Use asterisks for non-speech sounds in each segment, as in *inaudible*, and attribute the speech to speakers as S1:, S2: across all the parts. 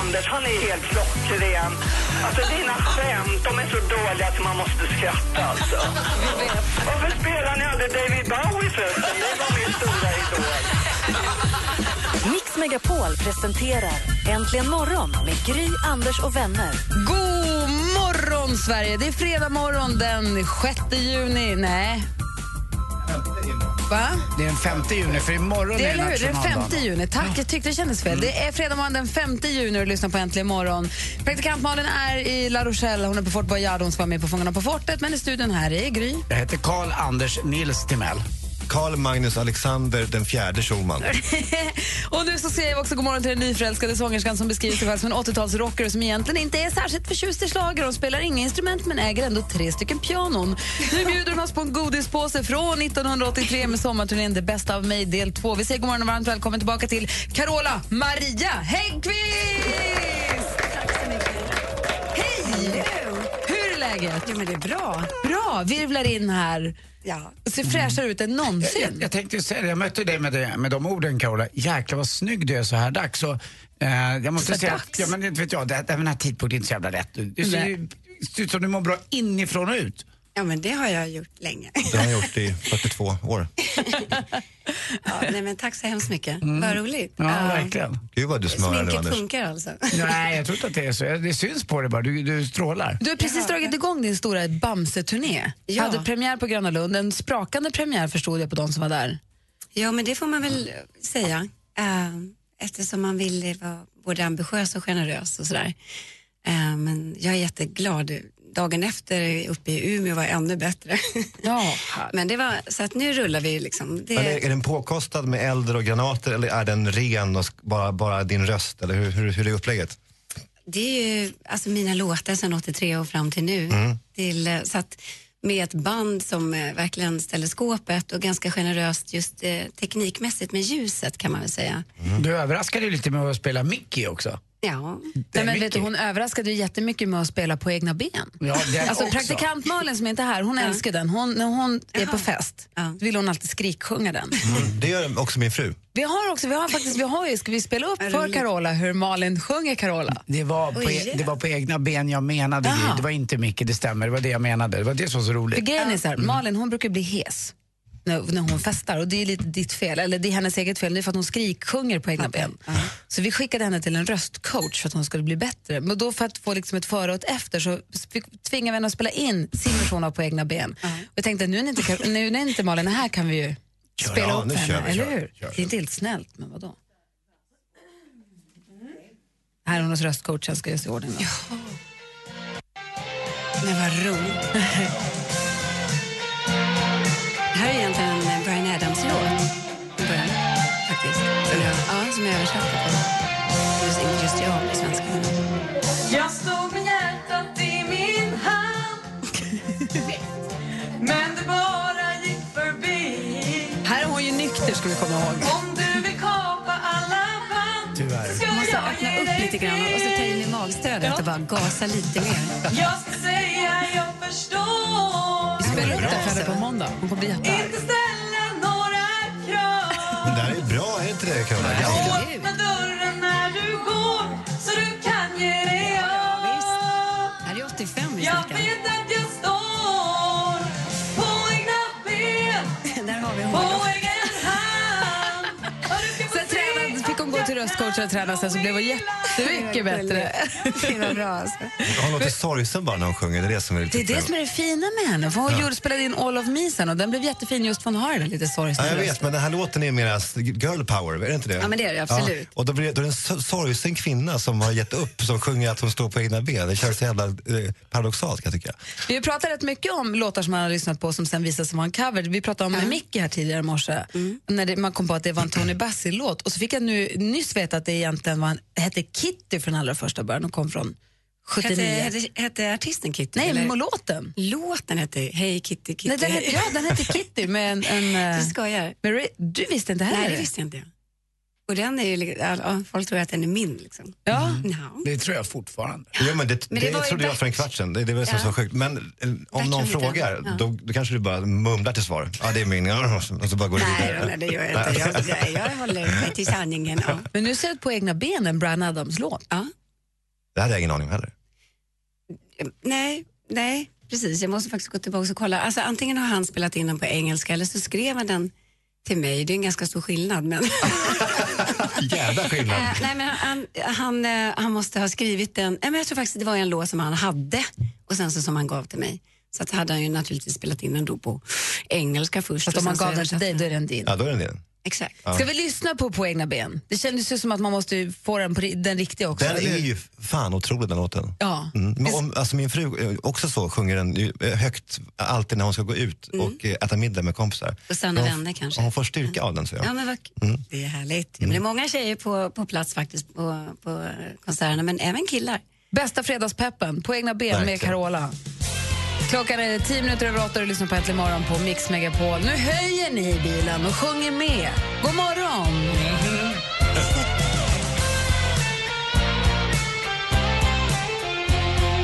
S1: Anders, han är helt klockren. Alltså dina skämt, de är så dåliga att man måste skratta alltså. Varför spelar ni aldrig David Bowie förresten? Det var min stora idol.
S2: Mix Megapol presenterar Äntligen morgon med Gry, Anders och vänner.
S3: God morgon, Sverige! Det är fredag morgon den 6 juni. Nej. Va?
S4: Det är den 5 juni, för imorgon
S3: Det är,
S4: är
S3: eller hur? Det är
S4: nationaldagen.
S3: 5 juni. Tack, jag tyckte det kändes fel. Det är fredag morgon den 5 juni och du lyssnar på Äntligen morgon. Praktikant Malin är i La Rochelle. Hon är på Fort Boyard. Hon ska vara med på Fångarna på fortet. Men i studion här är Gry.
S4: Jag heter Karl Anders Nils Timell.
S5: Karl Magnus Alexander den fjärde Schulman.
S3: *laughs* och nu så säger vi också god morgon till den nyförälskade sångerskan som beskriver sig själv som en 80-talsrockare som egentligen inte är särskilt förtjust i schlager. Hon spelar inga instrument men äger ändå tre stycken pianon. Nu bjuder hon oss på en godispåse från 1983 med sommarturnén Det bästa av mig del 2. Vi säger god morgon och varmt välkommen tillbaka till Carola Maria Häggkvist! Hej! Hur är läget?
S6: Jo, men det är bra.
S3: Bra, virvlar in här.
S6: Ja.
S3: Ser fräschare ut än
S4: Jag,
S6: *laughs*
S3: någonsin.
S4: jag tänkte ju säga det, jag mötte dig med, det, med de orden Carola. Jäklar vad snygg du är så här dags. Så, eh, jag måste
S3: Så
S4: säga,
S3: dags?
S4: att- ja, men inte vet jag, det, det, den här tidpunkten är inte så jävla rätt. Du, du ser ju ser ut som du mår bra inifrån och ut.
S6: ja, men det har jag gjort länge.
S5: Det har han gjort i 42 år.
S6: Ja, nej, men tack så hemskt mycket. Vad roligt.
S4: Ja, verkligen.
S5: Gud vad du smörar nu
S6: Sminket
S5: Anders.
S6: funkar alltså.
S4: Nej, jag tror inte att det är så. Det syns på dig bara, du, du strålar.
S3: Du har precis dragit igång din stora Bamse-turné.
S6: Ja.
S3: Hade premiär på Gröna Lund, en sprakande premiär förstod jag på de som var där.
S6: Ja, men det får man väl säga. Eh, eftersom man vill eh, vara både ambitiös och generös och sådär. Eh, men jag är jätteglad. Dagen efter uppe i Umeå var ännu bättre.
S3: Ja.
S6: men det var, så att nu rullar vi liksom. Det,
S5: Men är, är den påkostad med eld och granater eller är den ren och sk- bara, bara din röst? Eller hur, hur, hur är upplägget?
S6: det är ju alltså mina låtar sedan 83 och fram till nu.
S4: Mm.
S6: Till, eh, så att med ett band som eh, verkligen ställer skåpet och ganska generöst just eh, teknikmässigt med ljuset kan man väl säga.
S3: Mm.
S4: Du överraskade ju lite med att spela Mickey också.
S6: Ja,
S4: Det
S3: Nej,
S4: är
S3: men vet
S4: Mickey.
S3: du, hon överraskade ju jättemycket med att spela på egna ben.
S4: Ja, det
S3: Alltså
S4: också.
S3: praktikant Malin som inte är här, hon älskar den. Hon, när hon är på fest
S6: Ja.
S3: vill hon alltid skriksjunga den.
S5: Mm, det gör också min fru.
S3: Vi har också, vi har faktiskt, vi har ju, ska vi spela upp för Carola hur Malin sjunger Carola?
S4: Det var, på, e-
S6: Oj, yeah.
S4: det var på egna ben jag menade
S3: Aha.
S4: Gry. Det var inte Micke, det stämmer. Det var det jag menade. Det var det som var så
S3: För
S4: roligt.
S3: grejen är så här, Malin hon brukar bli hes när, när hon festar och det är lite ditt fel, eller det är hennes eget fel, det är för att hon skriksjunger på egna ben. Så vi skickade henne till en röstcoach för att hon skulle bli bättre. Men då för att få liksom ett före och ett efter så fick- tvingade vi henne att spela in sin version av på egna ben. Och jag tänkte nu när inte, Kar- nu när inte Malin är här kan vi ju
S5: Kör,
S3: spela
S5: ja,
S3: upp
S5: nu
S3: henne,
S5: kör vi,
S3: eller
S5: kör,
S3: hur?
S5: kör.
S3: Det är inte helt snällt, men vadå? Här är hon hos röstcoachen, ska jag se i ordning. då.
S6: det var roligt. det här är egentligen en eh, Bryan Adams-låt. i början, Faktiskt. Som jag, ja, som jag översatte till just, just jag på svenska.
S7: Jag stod med hjärtat i min hand Men du bara gick förbi
S3: Här är hon ju nykter, ska vi komma ihåg.
S7: Om du vill kapa alla band
S4: Tyvärr.
S7: ska
S6: Jag måste
S7: jag
S6: öppna
S7: ge
S6: upp
S7: dig
S6: lite grann och så ta in i magstödet och bara gasa lite mer.
S7: Jag ska säga jag förstår
S3: Vi spelar upp det här för henne
S6: alltså.
S3: på måndag. Hon kommer bli jättearg.
S7: Inte ställa några krav
S5: Men det här är bra, är inte det Carola? Ja.
S7: Och öppna dörren när du går Så du kan ge dig av
S6: Det här är 85 i
S7: Jag
S6: cirka.
S7: vet att jag står på egna ben
S6: Där har vi
S7: På
S6: honom.
S7: egen hand Och du ska få
S3: Sen tränade, fick hon gå till röstcoachen och träna sen så blev hon jättemycket bättre.
S6: Det var bra alltså.
S5: Hon låter sorgsen bara när hon sjunger. Det är det som är lite
S3: Det är det som är det fina med henne. För hon gjorde, spelade in All of me sen och den blev jättefin just för hon har den där lite
S5: Ja, jag
S3: sorgsen
S5: vet, men den här låten är mera s- girl power, är det inte det?
S6: Ja, men det är det, absolut.
S5: Och då, blir, då är det en so- sorgsen kvinna som har gett upp som sjunger att hon står på egna ben. Det känns så jävla eh, paradoxalt kan jag tycka.
S3: Vi pratar rätt mycket om låtar som man har lyssnat på som sen visar sig vara en cover. Vi pratade om Mickey här tidigare i morse. När det, man kom på att det var en *clears throat* Tony Basil-låt. Och så fick jag nu nyss veta att det egentligen var en, hette Kitty från allra första början och kom från Hette,
S2: 79.
S3: hette, hette artisten Kitty?
S2: Nej,
S3: eller?
S2: men låten.
S3: Låten hette Hej Kitty Kitty.
S2: Nej, den hette, ja, den
S3: *laughs*
S2: hette Kitty med en... en eh,
S3: Du skojar.
S2: med Ra- du visste inte heller?
S3: Nej, det visste inte jag. Och den är ju, li- ja, ja, folk tror att den är min liksom.
S2: Ja.
S3: No.
S4: Det tror jag fortfarande.
S5: Ja, men det,
S3: Men det
S5: det,
S3: var ju
S5: trodde jag för en kvart sedan. Det, det var det som
S3: Ja.
S5: var sjukt. Men eh, om någon
S3: heter
S5: frågar,
S3: den. Ja.
S5: då, då kanske du bara mumlar till svar. Ja, det är min. *laughs* Ja, Och så bara går du
S3: Nej,
S5: vidare.
S3: nej, det gör jag inte. Jag, jag, jag håller mig till sanningen. Ja.
S2: Men nu ser du på egna ben en Brian Adams-låt.
S3: Ja.
S5: *laughs* Det hade jag ingen aning om heller.
S3: Nej, nej, precis. Jag måste faktiskt gå tillbaka och kolla. Alltså, antingen har han spelat in den på engelska eller så skrev han den till mig. Det är en ganska stor skillnad. Men...
S5: Jävla skillnad.
S3: Eh, nej, men han, han, eh, han måste ha skrivit den. Nej, men jag tror faktiskt att det var en låt som han hade och sen så som han gav till mig. Så att hade han ju naturligtvis spelat in den då på engelska först.
S2: Fast
S3: och
S2: om man
S3: sen så
S2: gav den till
S3: översatte
S2: dig,
S3: han.
S2: då är den din.
S5: Ja, då är det din.
S3: Exakt.
S2: Ska vi lyssna på På egna ben? Det kändes ju som att man måste ju få den, på, ri- den riktiga också.
S5: Den
S2: eller
S5: är
S2: hur?
S5: ju fan otrolig den låten.
S2: Ja.
S5: Mm. Men om, alltså min fru eh, också så sjunger den ju, eh, högt alltid när hon ska gå ut och eh, äta middag med kompisar.
S3: Mm. Och sanna
S5: Hon-
S3: vänner kanske.
S5: Hon får styrka av den så jag.
S3: Ja, men vad, Det är härligt. Men det är många tjejer på, på plats faktiskt på, på eh, konserterna, men även killar.
S2: Bästa fredagspeppen, På egna ben med
S5: Verkligen.
S2: Carola. Klockan är tio minuter över åtta och du lyssnar på Äntligen morgon på Mix Megapol. Nu höjer ni i bilen och sjunger med. God morgon!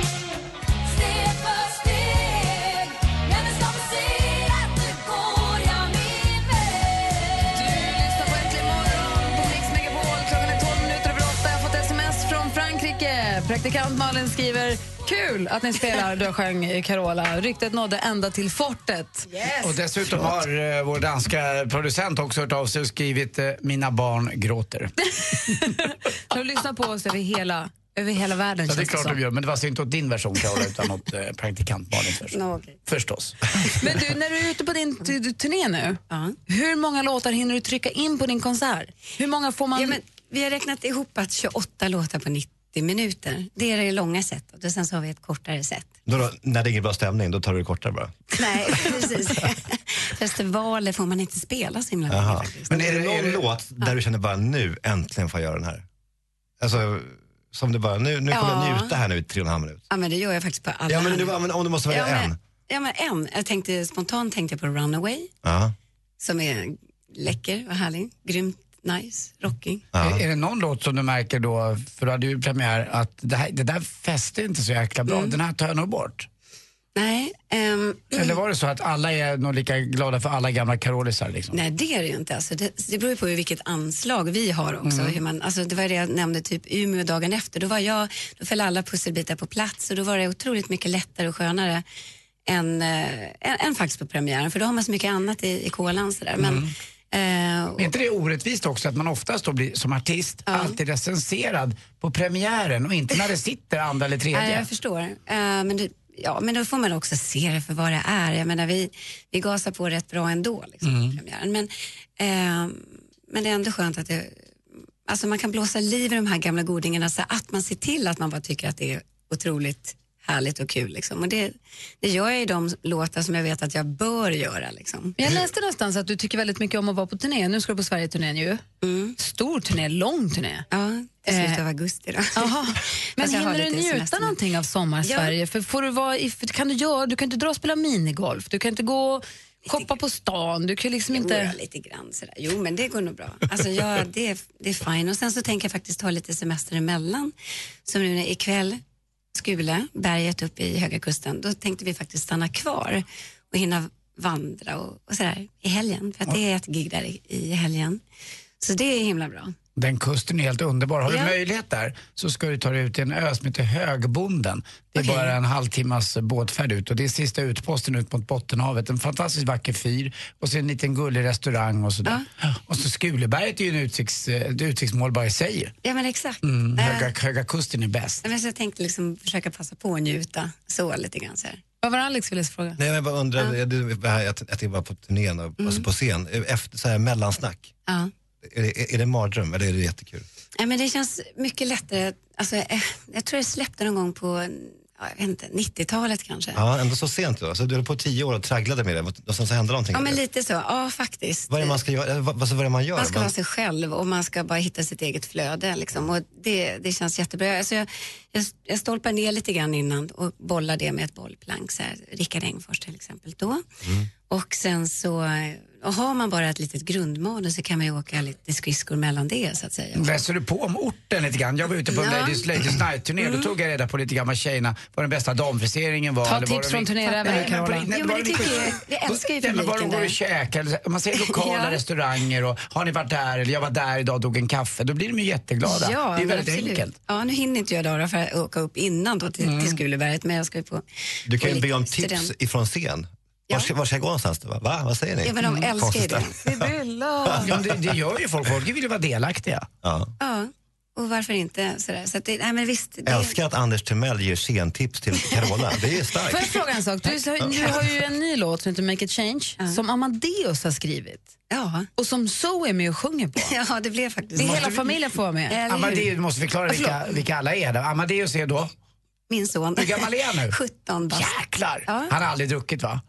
S8: Steg för steg, ja, men som ser att du går jag min väg.
S2: Du lyssnar på Äntligen morgon på Mix Megapol. Klockan är 12 minuter över åtta. Jag har fått sms från Frankrike. Praktikant Malin skriver Kul att ni spelar Du sjöng Carola. Ryktet nådde ända till fortet.
S4: Och dessutom har eh, vår danska producent också hört av sig och skrivit eh, “Mina barn gråter”.
S2: Så de lyssnar på oss över hela, över hela världen.
S4: Så det är
S2: känns
S4: klart
S2: som.
S4: de gör, men det var alltså inte åt din version Carola utan åt eh, praktikant Malins version.
S3: Nå, okej.
S4: Förstås.
S2: Men du, när du är ute på din t- t- turné nu,
S3: Ja.
S2: hur många låtar hinner du trycka in på din konsert? Hur många får man...
S3: Ja, men vi har räknat ihop att 28 låtar på 90 minuter. Det är det långa setet och sen så har vi ett kortare set.
S5: Då, då, när det är ingen bra stämning, då tar du det kortare bara.
S3: *laughs* Nej, precis. Festivaler får man inte spela så himla mycket
S5: Jaha.
S3: faktiskt.
S5: Men är det någon låt där du känner bara nu, äntligen får jag göra den här? Alltså, som du bara, nu, nu kommer
S3: Ja.
S5: jag njuta här nu i tre och en halv minut.
S3: Ja, men det gör jag faktiskt på alla.
S5: Ja, men, nu,
S3: andra.
S5: ja, men om du måste välja
S3: ja, men,
S5: en.
S3: ja, men en. Jag tänkte, spontant tänkte jag på Runaway
S5: Ja.
S3: som är läcker och härlig, grymt nice, rockig.
S5: Ja.
S4: Är, är det någon låt som du märker då, för du hade ju premiär, att det, här, det där fäste inte så jäkla bra, den här tar jag nog bort?
S3: Nej, ehm,
S4: Eller var det så att alla är nog lika glada för alla gamla Carolisar liksom?
S3: Nej, det är det ju inte. Alltså, det, det beror ju på hur- vilket anslag vi har också. Hur man, alltså, det var det jag nämnde, typ Umeå dagen efter. Då, var jag, då föll alla pusselbitar på plats och då var det otroligt mycket lättare och skönare än, eh, än, än faktiskt på premiären. För då har man så mycket annat i, i kolan. Sådär. Men, eh, och,
S4: Är inte det orättvist också att man oftast då blir som artist alltid recenserad på premiären och inte när det sitter andra eller tredje?
S3: Nej, jag förstår. Eh, men, det, ja, men då får man också se det för vad det är. Jag menar, vi, vi gasar på rätt bra ändå liksom,
S2: Mm.
S3: på premiären. Men, eh, men det är ändå skönt att det, alltså man kan blåsa liv i de här gamla godingarna så att man ser till att man bara tycker att det är otroligt härligt och kul. Liksom. Och det, det gör jag i de låtar som jag vet att jag bör göra. Liksom.
S2: Jag läste någonstans att du tycker väldigt mycket om att vara på turné. Nu ska du på Sverige-turnén ju. Stor turné, lång turné.
S3: Ja, till slutet
S2: Eh,
S3: av augusti då.
S2: Jaha. Men
S3: *laughs* Fast jag har
S2: hinner du
S3: lite
S2: njuta
S3: semester nu.
S2: någonting av sommar-Sverige? För får du, vara i, för kan du, göra, du kan inte dra och spela minigolf, du kan inte gå och shoppa på stan, du kan liksom
S3: Jo,
S2: inte...
S3: ja, lite grann sådär. Jo, men det går nog bra. Alltså, ja, det, är- det är fine. Och sen så tänker jag faktiskt ta lite semester emellan. Som nu när- ikväll, Skule, berget uppe i Höga Kusten, då tänkte vi faktiskt stanna kvar och hinna vandra och, och sådär i helgen. För att det är ett gig där i, i helgen. Så det är himla bra.
S4: Den kusten är helt underbar. Har du
S3: Ja.
S4: möjlighet där så ska du ta dig ut till en ö som heter Högbonden. Det är
S3: Okej.
S4: bara en halvtimmas eh, båtfärd ut och det är sista utposten ut mot Bottenhavet. En fantastiskt vacker fyr och så en liten gullig restaurang och sådär. Och så Skuleberget är ju en utsikts, eh, ett utsiktsmål bara i sig. ju.
S3: Ja, men exakt.
S4: Mm,
S3: Eh,
S4: höga, höga kusten är bäst.
S3: men så jag tänkte liksom försöka passa på att njuta så lite grann. Så här.
S2: Vad var det Alex ville fråga?
S5: Nej, men jag bara undrar, det- det här, jag, jag tänker bara på turnén och
S3: Mm.
S5: alltså på scen, efter så här mellansnack.
S3: Ja.
S5: Är det, är det en mardröm eller är det jättekul?
S3: Nej, men det känns mycket lättare. Alltså, eh, jag tror jag släppte någon gång på eh, ja, jag vet inte, 90-talet kanske.
S5: Ja, ändå så sent då. Så du höll på tio år och tragglade med det och sen så hände någonting.
S3: Ja, men lite så. Ja, faktiskt.
S5: Vad är det man ska göra? eh, Vad, alltså, vad är det man gör?
S3: Man ska vara sig själv och man ska bara hitta sitt eget flöde. Liksom. Och det, det känns jättebra. Alltså jag, jag, jag stolpar ner lite grann innan och bollar det med ett bollplank. Så här, Rickard Engfors till exempel då.
S5: Mm.
S3: Och sen så och har man bara ett litet grundmanus så kan man ju åka lite skridskor mellan det så att säga.
S4: Läser du på om orten lite grann? Jag var ute på en
S3: Ja. Mm.
S4: Ladies, Ladies Night-turné. Då tog jag reda på lite grann vad tjejerna, vad den bästa damfriseringen var.
S8: Ta
S4: eller vad
S8: tips
S4: de-
S8: från turnéräven,
S4: Nej, men
S8: Carola.
S4: på- nej,
S3: Jo,
S4: vad
S3: men
S4: de-
S3: det tycker jag. Vi älskar ju
S4: Nej, men Vad
S3: publiken
S4: de går
S3: där.
S4: och käkar. eller så- Om man ser
S3: *laughs*
S4: lokala
S3: Ja.
S4: restauranger och har ni varit där eller jag var där idag och tog en kaffe. Då blir de ju jätteglada. det är
S3: men
S4: väldigt
S3: absolut.
S4: enkelt.
S3: Ja, nu hinner inte jag då för att åka upp innan då till, till Skuleberget men jag ska ju på
S5: Du kan
S3: på
S5: ju be
S3: lite
S5: om tips
S3: student-
S5: ifrån scen. Var
S3: Ja.
S5: ska, var ska jag gå någonstans? Va? Va? Vad säger ni? Mm.
S3: Ja, men de älskar ju det.
S5: Konstnär.
S8: Sibylla!
S4: Ja, men det, det gör ju folk. Folk vill ju vara delaktiga.
S5: Ja.
S3: Ja, och varför inte? Sådär. Så att det, nej, men visst, det,
S5: Älskar att Anders Timell ger scentips till Carola. Det är
S8: Får jag
S5: starkt.
S8: fråga en sak? Du, har- du har ju en ny låt som heter Make It Change som Amadeus har skrivit
S3: Ja.
S8: och som Zoe är med och sjunger på.
S3: *laughs* ja, det blev faktiskt
S8: Det är
S3: så.
S8: hela familjen får vara med.
S3: Eller hur?
S4: Amadeus, du måste förklara vilka, vilka alla är. Då. Amadeus är då?
S3: Min son.
S4: Hur gammal är
S3: *laughs*
S4: han nu?
S3: 17 bast.
S4: Jäklar!
S3: Ja.
S4: Han har aldrig druckit va?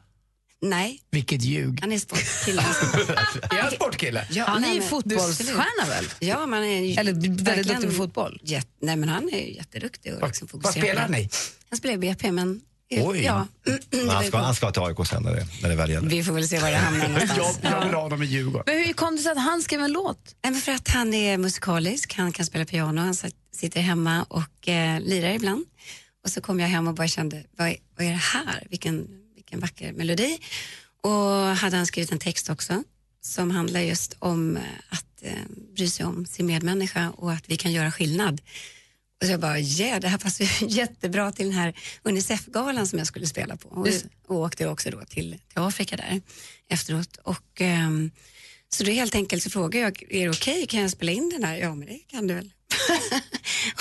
S3: Nej,
S4: Vilket ljug.
S3: han är sportkille.
S4: Är han sportkille?
S3: Ja,
S8: Han är
S3: nej,
S8: ju
S3: men-
S8: fotbollsstjärna väl?
S3: Ja, man är ju
S8: Eller väldigt
S3: verkligen
S8: duktig på fotboll.
S3: Jätt, nej, men han är ju jätteduktig. Och liksom
S4: Vad
S3: fokuserad.
S4: spelar ni?
S3: Han spelar BP, men...
S5: Oj.
S3: Ja. Mm, *clears throat*
S5: Men han, ska, han ska till AIK sen när det, när det väl gäller.
S3: Vi får väl se var det hamnar någonstans.
S4: Jag, jag vill ha honom i Djurgården.
S8: Men hur kom det sig att han skrev en låt?
S3: Nej, men för att han är musikalisk, han kan spela piano, han satt- sitter hemma och eh, lirar ibland. Och så kom jag hem och bara kände, vad är, vad är det här? Vilken, vilken vacker melodi. Och hade han skrivit en text också som handlar just om eh, att eh, bry sig om sin medmänniska och att vi kan göra skillnad. Och så jag bara, yeah, det här passar ju *laughs* jättebra till den här Unicef-galan som jag skulle spela på. Och, och åkte också då till, till Afrika där efteråt. Och, ehm, så då helt enkelt så frågade jag, är det okej, kan jag spela in den här? Ja, men det kan du väl. *laughs*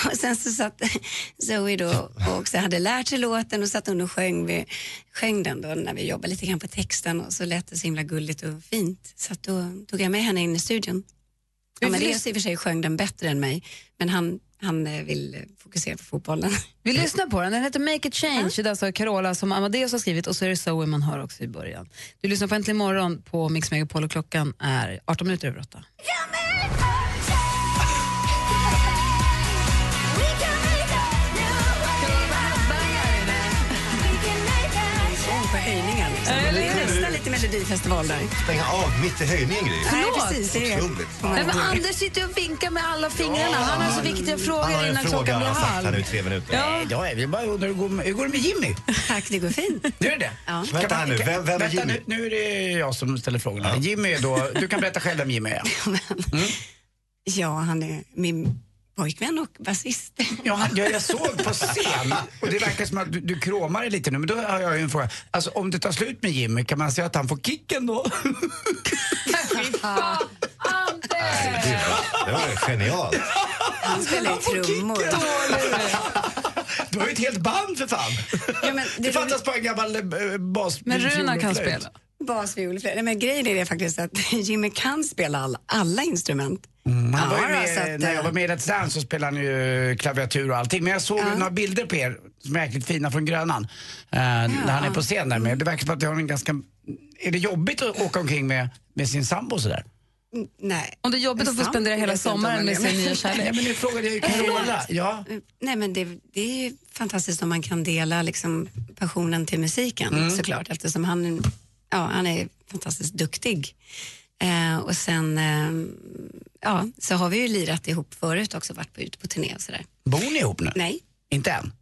S3: och sen så satt *laughs* Zoe då och också hade lärt sig låten och satt hon och sjöng, vi, sjöng den då när vi jobbade lite grann på texten och så lät det så himla gulligt och fint. Så att då tog jag med henne in i studion. Amadeus i och för sig sjöng den bättre än mig, men han, han eh, vill eh, fokusera på fotbollen. *laughs*
S8: Vi lyssnar på den. Den heter Make It Change. Det är alltså Carola som Amadeus har skrivit och så är det Zoe man hör också i början. Du lyssnar på Äntligen morgon på Mix Megapol och klockan är 18 minuter över 8.
S3: Åh, på höjningen. Det är nästan lite melodifestival där.
S5: Stänga av mitt i höjningen, Gry.
S3: Nej, precis. Det är
S5: Otroligt.
S8: Nej, men Anders sitter ju och vinkar med alla fingrarna. Han har så viktiga
S5: Han
S8: frågor
S5: har en
S8: innan
S5: fråga
S8: klockan
S5: han
S8: blir
S5: har sagt här nu i
S8: halv.
S5: tre minuter.
S4: Nej, då är vi bara undrar hur går, hur går det med Jimmy?
S3: Tack, det går fint.
S4: Nu är det ja.
S5: Vänta här nu, vem- vem är Jimmy?
S4: Nu, nu är det jag som ställer frågorna. Jimmy är då, du kan berätta själv vem
S8: *laughs*
S4: Jimmy är.
S3: *laughs* Ja, han är min pojkvän och basist.
S4: Ja, han- ja, jag såg på scen och det verkar som att du, du kromar dig lite nu. Men då har jag ju en fråga. Alltså om det tar slut med Jimmy, kan man säga att han får kicken då? *laughs*
S5: Det var- Det var genialt.
S3: Han spelar ju trummor.
S4: Du har ju ett helt band för fan.
S3: Ja, men
S4: Det
S3: det
S4: fattas bara en gammal eh, bas.
S8: Men Runa kan
S4: fiolflöjt.
S8: spela.
S3: Basviol, flöjt. Nej, men grejen är det faktiskt att *laughs* Jimmy kan spela alla, alla instrument.
S4: Mm. Han var ju
S3: Ja,
S4: med,
S3: så att,
S4: när jag
S3: eh,
S4: var med i Let's Dance så spelade han ju eh, klaviatur och allting. Men jag såg ju några bilder på er som är jäkligt fina från Grönan. eh, När han är på scen där med. Det verkar som att det har en ganska... Är det jobbigt att åka omkring med, med sin sambo sådär?
S3: eh, Nej.
S8: Om det är jobbigt att få
S3: Sant,
S8: spendera hela
S3: vet jag inte om
S8: sommaren
S3: han
S8: med
S3: är, men-
S8: sin nya
S4: Nej
S8: kärlek.
S4: men nu frågade jag ju Carola. Ja.
S3: Eh, Nej, men det, det är ju fantastiskt om man kan dela liksom, passionen till musiken
S4: Mm.
S3: såklart eftersom han, ja, han är fantastiskt duktig. Eh, och sen eh, ja, så har vi ju lirat ihop förut också, varit på, ute på turné och sådär.
S4: Bor ni ihop nu?
S3: Nej,
S4: Inte än?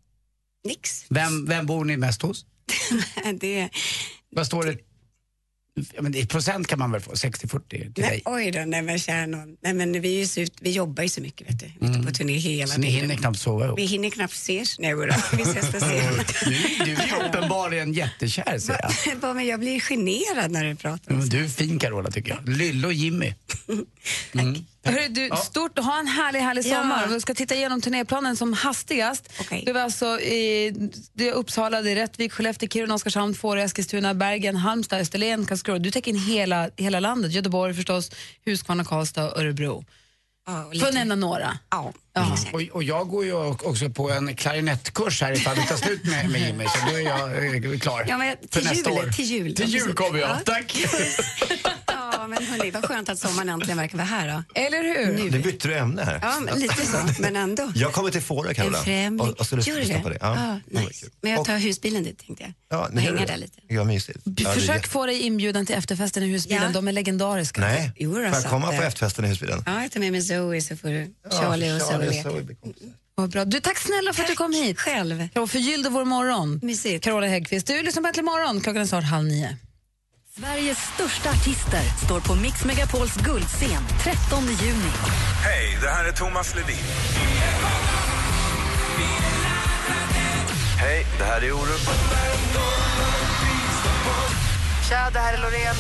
S3: nix. *laughs*
S4: Vem, vem bor ni mest hos?
S3: det,
S4: Vad står det? Ja, men I procent kan man väl få? 60-40 till
S3: nej,
S4: dig?
S3: oj då, nej men kära nån. Nej men vi, är ju så, ut- vi jobbar ju så mycket vet du, ute på turné hela
S4: Mm. Så ni hinner knappt sova ihop?
S3: Vi hinner knappt ses. Nej, jodå, vi ses
S4: *laughs*
S3: på scen.
S4: Du, du är ju uppenbarligen jättekär säger jag.
S3: *laughs* Bara, men jag blir generad när du pratar om
S4: Men Du är fin Carola tycker jag. Lillo och Jimmy.
S8: Hörru, du, stort, ha en härlig, härlig
S3: Ja.
S8: sommar. Vi ska titta igenom turnéplanen som hastigast.
S3: Okej.
S8: Det var alltså i, det är Uppsala, det är Rättvik, Skellefteå, Kiruna, Oskarshamn, Fårö, Eskilstuna, Bergen, Halmstad, Österlen, Karlskrona. Du täcker in hela, hela landet. Göteborg förstås, Huskvarna, Karlstad och Örebro.
S3: För att nämna några.
S6: Ja.
S4: Och, och jag går ju också på en klarinettkurs här ifall det tar slut med, med Jimmy så då är jag eh, klar.
S6: Ja, men
S4: för
S6: till
S4: nästa
S6: jul,
S4: år.
S6: till jul,
S4: Till
S6: ja,
S4: jul
S6: precis.
S4: kommer jag,
S6: Ja. *laughs*
S4: tack.
S6: Ja, men hörni, vad skönt att sommaren äntligen verkar vara här då.
S3: Eller hur?
S5: Nu bytte du ämne här.
S6: Ja, men lite så, men ändå.
S5: Jag kommer till Fårö,
S6: En
S5: Carola.
S6: främling.
S5: Och, och ska
S6: Gör du
S5: lyssna
S6: det?
S5: på det.
S6: Ja,
S5: det var
S6: nice.
S5: kul.
S6: Men jag
S5: Och-
S6: tar husbilen dit tänkte jag.
S5: Ja,
S6: Och
S5: nu gör
S6: hänga
S5: du
S6: där
S5: det.
S6: lite.
S5: Ja, mysigt. Ja, det-
S3: Försök få dig inbjuden till efterfesten i husbilen.
S6: Ja.
S3: De är legendariska.
S5: Nej,
S6: Jo, då,
S5: får
S6: så
S5: jag
S6: att,
S5: komma på
S6: eh,
S5: efterfesten i husbilen?
S6: Ja, jag tar med mig Zoe så får du Charlie och
S5: Ja,
S6: Zoe
S5: Charlie
S6: leka.
S5: Zoe blir kompisar.
S3: Vad bra. Du, tack snälla för att du kom hit.
S6: Själv.
S3: Jag förgyllde vår morgon.
S6: Mysigt.
S3: Carola Häggkvist, du lyssnar på Äntligen morgon. Klockan är snart halv nio.
S2: Sveriges största artister står på Mix Megapols guldscen 13 juni.
S9: Hej, det här är Thomas Ledin. Hej, det här är Orup.
S1: Tja, det här är Loreen.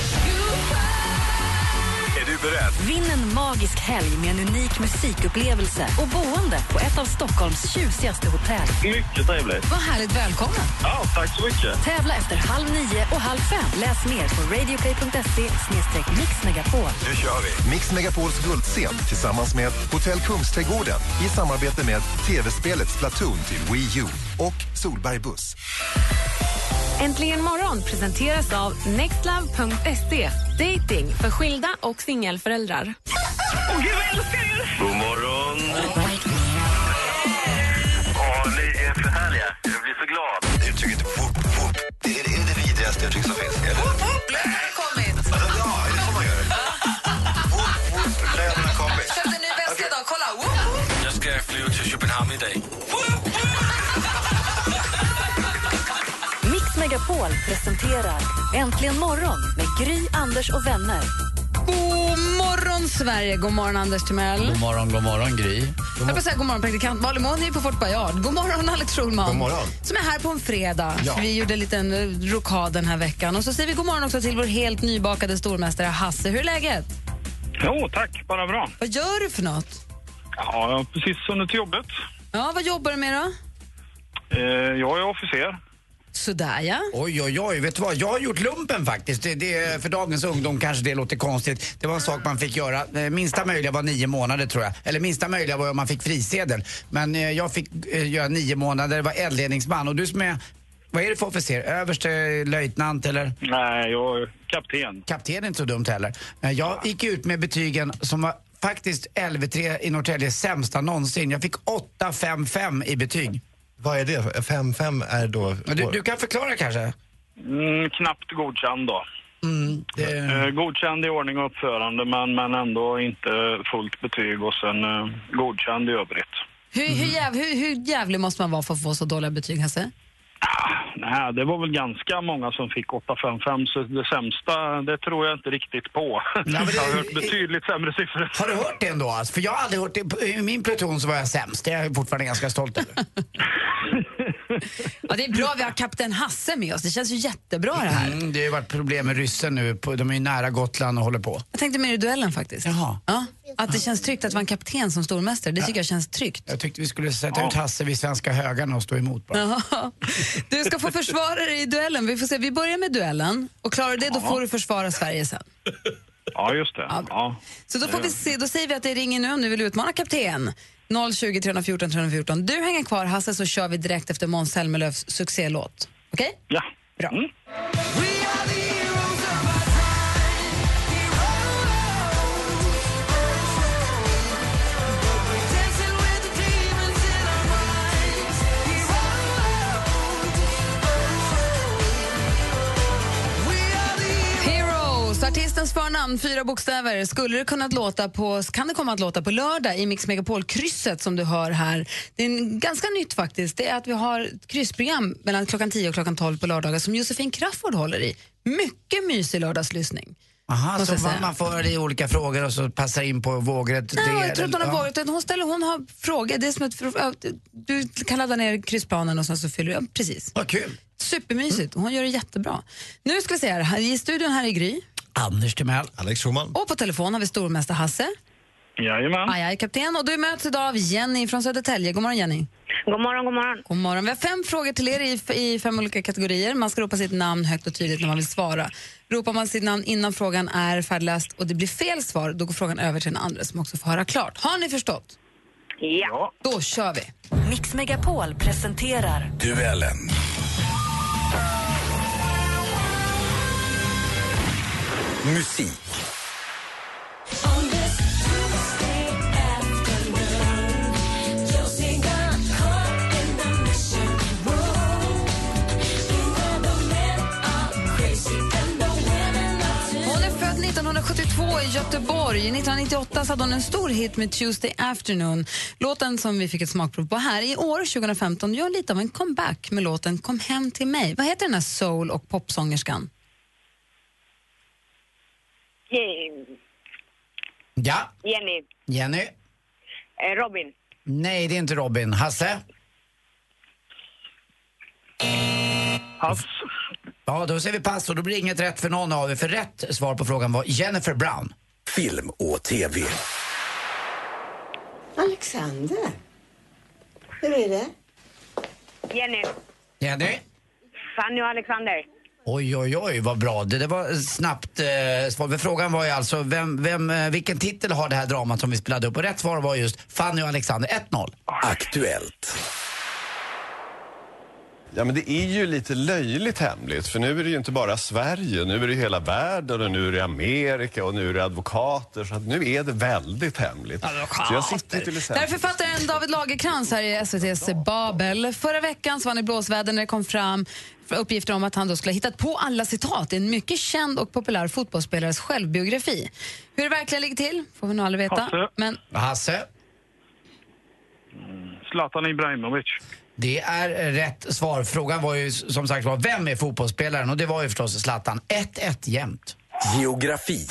S9: Är du beredd?
S2: Vinn en magisk helg med en unik musikupplevelse och boende på ett av Stockholms tjusigaste hotell.
S9: Mycket trevligt.
S3: Vad härligt. Välkommen.
S9: Ja, tack så mycket.
S2: Tävla efter halv nio och halv fem. Läs mer på radioplay.se mixmegapol.
S9: Nu kör vi.
S10: Mix Megapols guldscen tillsammans med Hotell Kungsträdgården i samarbete med tv-spelet Splatoon till Wii U och Solberg Buss.
S11: Äntligen morgon presenteras av nextlove.se. Dating för skilda och singelföräldrar.
S9: God morgon. Åh, ni är för härliga. Jag blir så glad. Uttrycket whoop whoop, det är det, är det vidrigaste uttryck som finns. Whoop whoop, löven har kommit. Ja, är det så man gör? Whoop whoop, löven har kommit.
S3: Köpte en ny väska idag. Kolla!
S9: Jag ska flyga till Köpenhamn idag.
S2: Mix Megapol presenterar Äntligen morgon med Gry, Anders och vänner.
S3: God morgon, Sverige. God morgon, Anders Timell.
S4: God morgon, god morgon Gry.
S3: Jag vill säga god morgon, praktikant Malin Måni på Fort Boyard. God morgon, Alex Schulman.
S5: God morgon.
S3: Som är här på en fredag.
S5: Ja.
S3: Vi gjorde en liten eh, rokad den här veckan. Och så säger vi god morgon också till vår helt nybakade stormästare Hasse. Hur är läget?
S12: Jo, tack. Bara bra.
S3: Vad gör du för något?
S12: Ja, jag har precis hunnit till jobbet.
S3: Ja, vad jobbar du med då?
S12: Eh, Jag är officer.
S3: Sådär, ja.
S4: Oj, oj, oj. Vet du vad? Jag har gjort lumpen faktiskt. Det, det, för dagens ungdom kanske det låter konstigt. Det var en sak man fick göra. Eh, Minsta möjliga var nio månader tror jag. Eller minsta möjliga var om man fick frisedel. Men eh, jag fick eh, göra nio månader, var eldledningsman. Och du som är, vad är det för officer? Överste, löjtnant eller?
S12: Nej, jag är kapten.
S4: Kapten är inte så dumt heller. Eh, Jag gick ut med betygen som var faktiskt LV3 i Norrtälje sämsta någonsin. Jag fick 8-5-5 i betyg.
S5: Vad är det? 5-5 är då...
S4: Men Du, du kan förklara kanske? Mm,
S12: Mm, knappt godkänd då. Eh, Godkänd i ordning och uppförande, men, men ändå inte fullt betyg och sen eh, godkänd i övrigt.
S3: Hur, hur, jäv, hur, hur jävlig måste man vara för att få så dåliga betyg, Hasse?
S12: Nej, det var väl ganska många som fick 8-5-5, så det sämsta, det tror jag inte riktigt på. *laughs* Jag har hört betydligt sämre siffror.
S4: Har du hört det ändå? Alltså? För jag har aldrig hört det. I min pluton så var jag sämst. Det är jag fortfarande ganska stolt över.
S3: Ja, det är bra vi har kapten Hasse med oss. Det känns ju jättebra *laughs* det här.
S4: Mm, det har ju varit problem med ryssen nu. På- De är ju nära Gotland och håller på.
S3: Jag tänkte mer i duellen faktiskt.
S4: Jaha.
S3: Ja, att det känns tryggt att vara en kapten som stormästare, det tycker jag känns tryggt. *laughs*
S4: Jag tyckte vi skulle sätta ut Hasse vid svenska högarna och stå emot bara.
S3: Ja. Du ska få försvara dig i duellen. Vi får se, vi börjar med duellen och klarar du det då får du försvara Sverige sen.
S12: Ja, just det. Ja.
S3: Så då får vi se, då säger vi att det ringer nu om du vill utmana kapten. 020 314 314. Du hänger kvar Hasse så kör vi direkt efter Måns Zelmerlöws succélåt. Okej?
S12: Ja. Mm.
S3: Bra. Heroes, Artistens förnamn, fyra bokstäver. Skulle det kunnat låta på, kan det komma att låta på lördag i Mix Megapol-krysset som du hör här. Det är en- ganska nytt faktiskt. Det är att vi har ett kryssprogram mellan klockan 10 och klockan 12 på lördagar som Josefin Crafoord håller i. Mycket mysig lördagslyssning.
S4: Aha,
S3: Måste
S4: så
S3: jag säga.
S4: man får höra det i olika frågor och så passar in på vågrätt.
S3: Nej,
S4: det-
S3: jag tror inte hon har
S4: ja.
S3: varit utan hon, ställer, hon har frågor. Det är som ett, fr- du kan ladda ner kryssplanen och sen så fyller du... Ja, precis.
S4: Vad kul.
S3: Supermysigt.
S4: Mm.
S3: Hon gör det jättebra. Nu ska vi se här. här. I studion här i Gry
S4: Anders Timell.
S5: Alex Schulman.
S3: och på telefon har vi stormästare Hasse.
S12: Jajamän.
S3: Aj, aj, kapten. Och du möts idag av Jenny från Södertälje. God morgon, Jenny.
S8: God morgon, god morgon.
S3: God morgon. Vi har fem frågor till er i, i fem olika kategorier. Man ska ropa sitt namn högt och tydligt när man vill svara. Ropar man sitt namn innan frågan är färdigläst och det blir fel svar, då går frågan över till den andra som också får höra klart. Har ni förstått?
S8: Ja.
S3: Då kör vi.
S2: Mix Megapol presenterar
S9: Duellen. Musik.
S3: Hon är född 1972 i Göteborg. 1998 så hade hon en stor hit med Tuesday Afternoon. Låten som vi fick ett smakprov på här i år, 2015, gör lite av en comeback med låten Kom hem till mig. Vad heter den här soul och popsångerskan?
S8: Je-
S4: Ja,
S8: Jenny.
S4: Jenny.
S8: Eh, Robin.
S4: Nej, det är inte Robin. Hasse? Pass. Ja, då säger vi pass och då blir det inget rätt för någon av er. För rätt svar på frågan var Jennifer Brown. Film och TV.
S13: Alexander? Hur är det?
S8: Jenny.
S4: Jenny?
S8: Fanny och Alexander.
S4: Oj, oj, oj, vad bra. Det, det var snabbt eh, svar. Men frågan var ju alltså vem, vem, eh, vilken titel har det här dramat som vi spelade upp? Och rätt svar var just Fanny och Alexander. 1-0.
S14: Aktuellt. Ja, men det är ju lite löjligt hemligt, för nu är det ju inte bara Sverige, nu är det ju hela världen och nu är det Amerika och nu är det advokater, så att nu är det väldigt hemligt. Så jag sitter till
S3: Där är
S14: exempel...
S3: författaren David Lagercrantz här i SVTs Babel. Förra veckan så var han i blåsväder när det kom fram uppgifter om att han då skulle ha hittat på alla citat i en mycket känd och populär fotbollsspelares självbiografi. Hur det verkligen ligger till får vi nog aldrig veta.
S12: Hasse.
S3: Men
S4: Hasse?
S12: Zlatan Ibrahimovic.
S4: Det är rätt svar. Frågan var ju s- som sagt var, vem är fotbollsspelaren? Och det var ju förstås Zlatan. 1-1 jämnt.
S9: Geografi.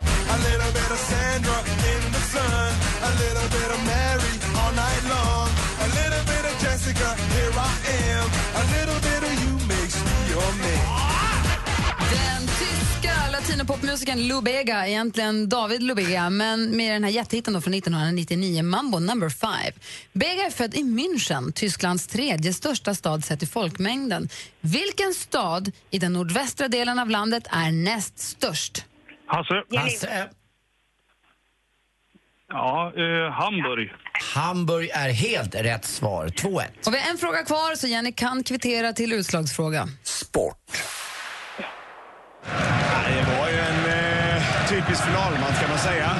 S15: A little bit of Sandra in the sun, a little bit of Mary all night long, a little bit of Jessica, here I am, a little bit of you makes me your man.
S3: Den tyska latinopopmusikern Lubega, egentligen David Lubega, men med den här jättehiten då från 1999, Mambo number 5. Bega är född i München, Tysklands tredje största stad sett i folkmängden. Vilken stad i den nordvästra delen av landet är näst störst?
S12: Hasse? Ja, eh, Hamburg.
S4: Hamburg är helt rätt svar. 2-1.
S3: Och vi har en fråga kvar, så Jenny kan kvittera till utslagsfråga.
S4: Sport.
S16: Det var ju en eh, typisk finalmatch kan man säga.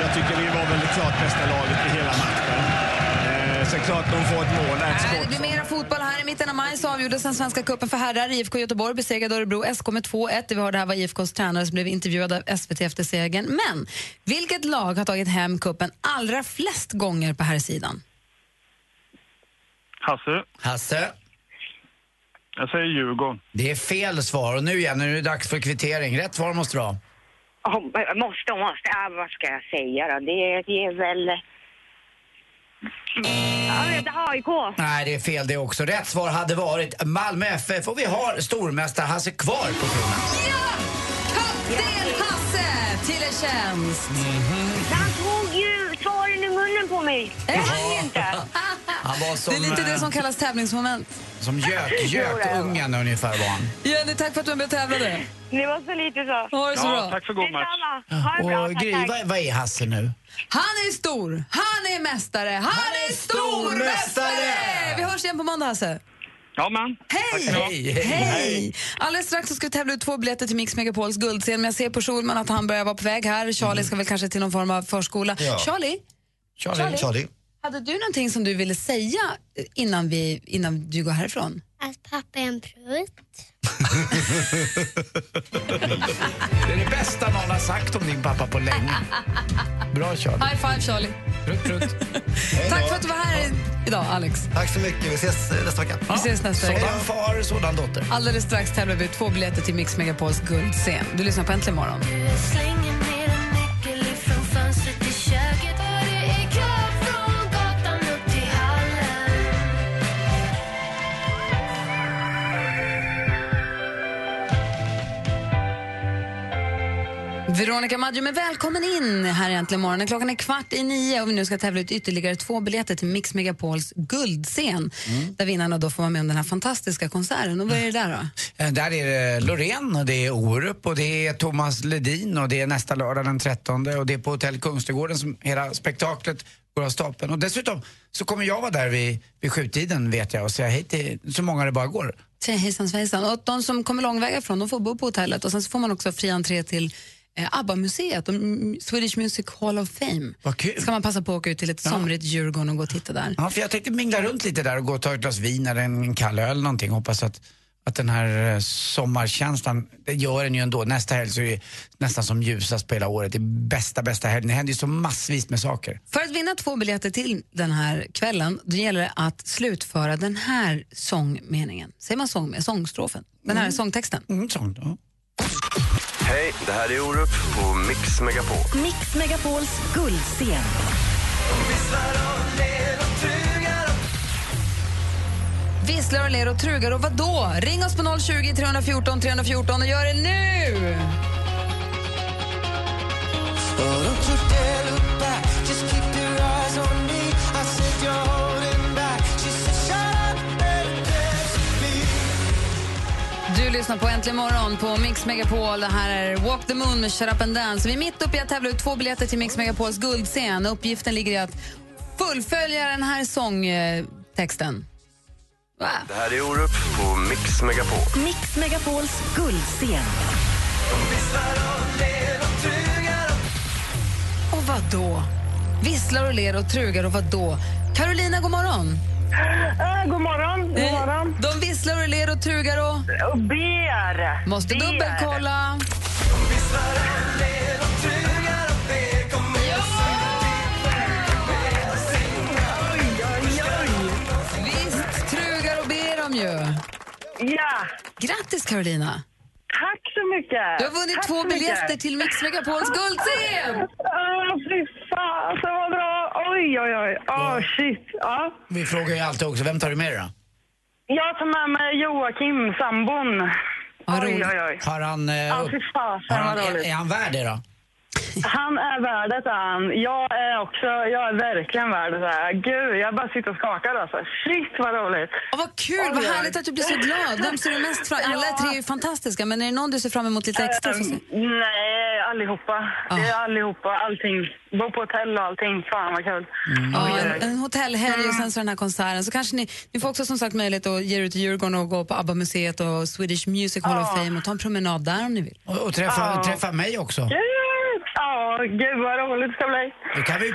S16: Jag tycker vi var väl det klart bästa laget i hela matchen. Eh, så klart de får ett mål, ett
S3: Äh, Det
S16: skott.
S3: blir mera fotboll här. I mitten av maj så avgjordes den svenska cupen för herrar. IFK Göteborg besegrade Örebro SK med 2-1. Det vi hörde här var IFKs tränare som blev intervjuad av SVT efter segern. Men vilket lag har tagit hem cupen allra flest gånger på här sidan?
S12: Hasse?
S4: Hasse?
S12: Jag säger Djurgården.
S4: Det är fel svar. Och nu igen, nu är det dags för kvittering. Rätt svar måste du ha.
S8: Oh, måste, måste. Ah, vad ska jag säga då? Det, det är väl... Ja, det är AIK.
S4: Nej, det är fel det också. Rätt svar hade varit Malmö FF och vi har stormästare Hasse kvar på kronan.
S3: Kapten Hasse till en tjänst!
S8: Han tog ju svaren i munnen på mig. Det hann inte.
S4: Han var som,
S3: Det är lite det
S4: eh,
S3: som kallas tävlingsmoment.
S4: som gök, gökungen ungefär var han.
S3: Jenny, tack för att du är med och tävlade.
S8: Det var så lite så.
S3: Ha det så bra.
S4: för god match.
S8: Ha det bra,
S4: Och
S8: tack,
S4: Gry,
S8: tack.
S4: vad, vad är Hasse nu?
S3: Han är stor, han är mästare, han är stormästare! Vi hörs igen på måndag, Hasse.
S12: Ja, men.
S3: Hej! Hej! Hej! Alldeles strax så ska vi tävla ut två biljetter till Mix Megapols guldscen. Men jag ser på Schulman att han börjar vara på väg här. Charlie ska väl kanske till någon form av förskola.
S5: Ja.
S3: Charlie, Mm. Charlie. Charlie. hade du någonting som du ville säga innan, vi, innan du går härifrån?
S17: Att pappa är en prutt.
S4: Det är det bästa någon har sagt om din pappa på *laughs* länge. Bra Charlie.
S3: High five Charlie!
S4: Prutt, prutt.
S3: Tack för att du var här i- idag Alex.
S5: Tack så mycket. Vi ses eh, nästa vecka.
S3: Vi ses nästa vecka.
S4: Sådan far, sådan dotter.
S3: Alldeles strax tävlar vi ut två biljetter till Mix Megapols guldscen. Du lyssnar på Äntligen morgon.
S7: Slänger ner en nyckel ifrån fönstret i köket och det är kö från gatan upp till hallen.
S3: Veronica Maggio, men välkommen in här i Äntligen morgonen. Klockan är kvart i nio och vi nu ska tävla ut ytterligare två biljetter till Mix Megapols guldscen
S4: Mm.
S3: där vinnarna då får vara med om den här fantastiska konserten. Och vad är det där då?
S4: Eh, Där är det Loreen och det är Orup och det är Thomas Ledin och det är nästa lördag den 13 och det är på Hotell Kungsträdgården som hela spektaklet går av stapeln. Och dessutom så kommer jag vara där vid, vid sjutiden vet jag och säga hej till så många det bara går.
S3: Säg hejsan svejsan. Och de som kommer långväga ifrån de får bo på hotellet och sen så får man också fri entré till eh, ABBA-museet, och mm, Swedish Music Hall of Fame.
S4: Vad kul!
S3: Ska man passa på att åka ut till ett somrigt Djurgården och gå och titta där.
S4: Ja, för jag tänkte mingla runt lite där och gå och ta ett glas vin eller en kall öl eller någonting. Hoppas att, att den här eh, sommarkänslan, det gör den ju ändå. Nästa helg så är det nästan som ljusast på hela året. Det är bästa, bästa helgen. Det händer ju så massvis med saker.
S3: För att vinna två biljetter till den här kvällen då gäller det att slutföra den här sångmeningen. Säger man sång med sångstrofen? Den här
S9: Mm.
S3: sångtexten.
S9: Hej, det här är Orup på Mix Megapol.
S2: Mix Megapols guldscen.
S3: Visslar och ler och trugar och vadå? Ring oss på 020 314 314 och gör det nu! Du lyssnar på Äntligen morgon på Mix Megapol. Det här är Walk the Moon med Shut Up and Dance. Vi är mitt uppe i att tävla ut två biljetter till Mix Megapols guldscen. Uppgiften ligger i att fullfölja den här sångtexten.
S9: Det här är Orup på Mix Megapol.
S2: Mix Megapols guldscen.
S3: Och vad då? Visslar och ler och trugar och vad då? Carolina, god morgon.
S8: Äh, god morgon. God morgon.
S3: De visslar och ler och trugar och...
S8: Och ber.
S3: Måste
S8: Ber.
S3: dubbelkolla. Visst trugar och ber de ju.
S8: Ja.
S3: Grattis, Carolina.
S8: Tack så mycket.
S3: Du har vunnit
S8: Tack
S3: två
S8: så mycket.
S3: biljetter till Mix Megapols guldscen.
S8: Åh, fy fasen vad bra. Oj, oj, oj. Åh, shit. Ja.
S4: Vi frågar ju alltid också, vem tar du med dig då?
S8: Jag tar med mig Joakim, sambon. Oj, oj, oj.
S4: Har han... Eh,
S8: Ja, fy fasen
S4: har han
S8: vad
S4: är,
S8: roligt.
S4: är han värd det då?
S8: Han är värd det, han. Jag är också, jag är verkligen värd det. Gud, jag bara sitter och skakar alltså. Shit vad roligt.
S3: Och vad kul, vad härligt att du blir så glad. Vem ser du mest fram Alla tre är ju fantastiska, men är det någon du ser fram emot lite extra?
S8: Ehm, nej, allihopa. Det är allihopa, allting. Bo på hotell och allting. Fan vad kul.
S3: Ja,
S8: Oj, oj,
S3: en,
S8: oj.
S3: en hotellhelg och sen så den här konserten. Så kanske ni, ni får också som sagt möjlighet att ge er ut till Djurgården och gå på ABBA-museet och Swedish Music Hall of Fame och ta en promenad där om ni vill.
S4: Och, och träffa,
S3: Ja.
S4: träffa mig också.
S8: Gud! Ja, gud vad roligt det ska bli.
S4: Då kan, vi,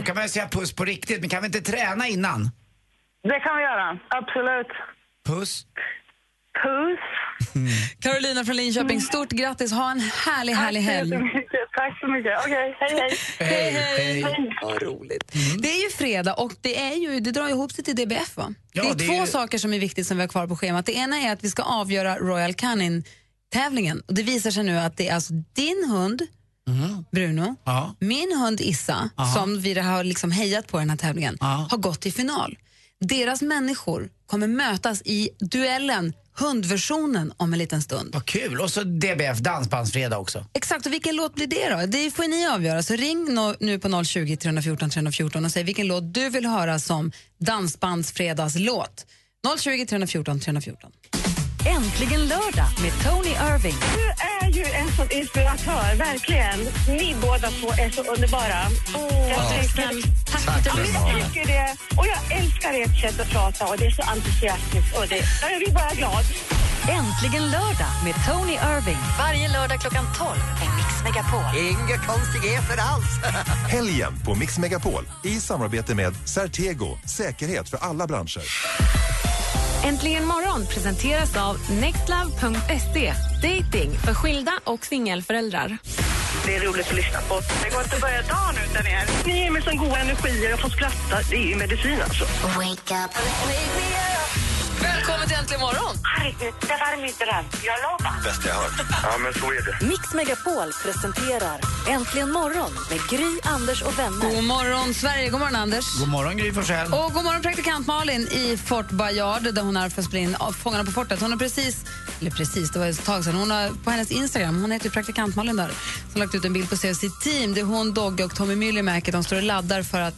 S4: då kan man ju säga puss på riktigt, men kan vi inte träna innan?
S8: Det kan vi göra, absolut.
S4: Puss.
S8: Puss.
S3: Carolina från Linköping, stort grattis. Ha en härlig, härlig helg.
S8: Tack så mycket. Okej, hej, hej.
S3: Hej, hej. Vad roligt.
S4: Mm.
S3: Det är ju fredag och det, är ju, det drar ihop sig till DBF va?
S4: Ja,
S3: det är
S4: det är
S3: två
S4: ju-
S3: saker som är viktigt som vi har kvar på schemat. Det ena är att vi ska avgöra Royal Canin-tävlingen. Och det visar sig nu att det är alltså din hund, Bruno,
S4: Mhm. Ja.
S3: min hund Issa,
S4: Ja.
S3: som vi har liksom hejat på i den här tävlingen, har gått till final. Deras människor kommer mötas i duellen, hundversionen, om en liten stund.
S4: Vad kul! Och så DBF, dansbandsfredag också.
S3: Exakt, och vilken låt blir det då? Det får ni avgöra. Så ring nå- nu på 020 314 314 och säg vilken låt du vill höra som Dansbandsfredagslåt. 020 314 314.
S2: Äntligen lördag med Tony Irving.
S8: Du är ju en sån inspiratör, verkligen. Ni båda två är så underbara.
S7: Ja.
S8: jag tycker,
S7: Tack,
S8: ja, men
S7: Emma.
S8: jag tycker det. Och jag älskar ert sätt att prata och det är så entusiastiskt. Och det, ja, jag blir bara glad.
S2: Äntligen lördag med Tony Irving. Varje lördag klockan 12 i Mix Megapol.
S18: Inga konstigheter alls.
S10: Helgen på Mix Megapol i samarbete med Certego, säkerhet för alla branscher.
S11: Äntligen morgon presenteras av nextlove.se. Dating för skilda och singelföräldrar.
S8: Det är roligt att lyssna på. Det går inte att börja dagen utan er. Ni ger mig sån god energi och jag får skratta. Det är ju medicin alltså. Wake up.
S3: Välkommen till Äntligen morgon!
S8: Herregud, det var min dröm. Jag lovar.
S9: Bästa jag hört. Ja, men så är det.
S2: Mix Megapol presenterar Äntligen morgon med Gry, Anders och vänner.
S3: God morgon, Sverige. God morgon, Anders.
S4: God morgon Gry Forssell.
S3: Och god morgon, praktikant Malin i Fort Bayard där hon är för att spela in Fångarna på fortet. Hon har precis eller precis, det var ett tag sedan. Hon har, på hennes Instagram, hon heter ju praktikant Malin där, som lagt ut en bild på sig och sitt team. Det är hon, Dogge och Tommy Myllymäki. De står och laddar för att,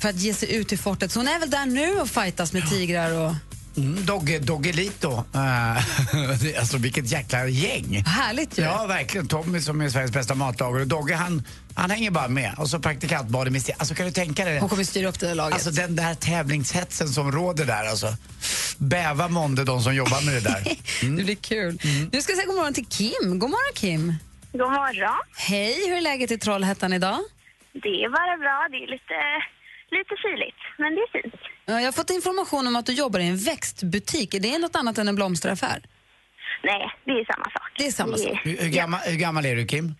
S3: för att ge sig ut i fortet. Så hon är väl där nu och fightas med tigrar och...
S4: Mm, Dogge, Doggelito. Eh, *laughs* det- alltså vilket jäkla gäng.
S3: Härligt ju.
S4: Ja, verkligen. Tommy som är Sveriges bästa matlagare och Dogge han, han hänger bara med. Och så praktikant Malin med sig. Alltså kan du tänka dig det?
S3: Hon kommer styra upp det där laget.
S4: Alltså den där tävlingshetsen som råder där alltså. Bäva månde de som jobbar med det
S3: *laughs*
S4: Mm. där.
S3: Det blir kul. Nu ska jag säga god morgon till Kim. God morgon, Kim.
S19: God morgon.
S3: Hej, hur är läget i Trollhättan idag?
S19: Det är bara bra. Det är lite, lite kyligt, men det är fint.
S3: Eh, Jag har fått information om att du jobbar i en växtbutik. Är det något annat än en blomsteraffär?
S19: Nej, det är samma sak.
S3: Det är samma
S19: Mm.
S3: sak.
S4: Hur, hur, gammal, hur gammal är du Kim?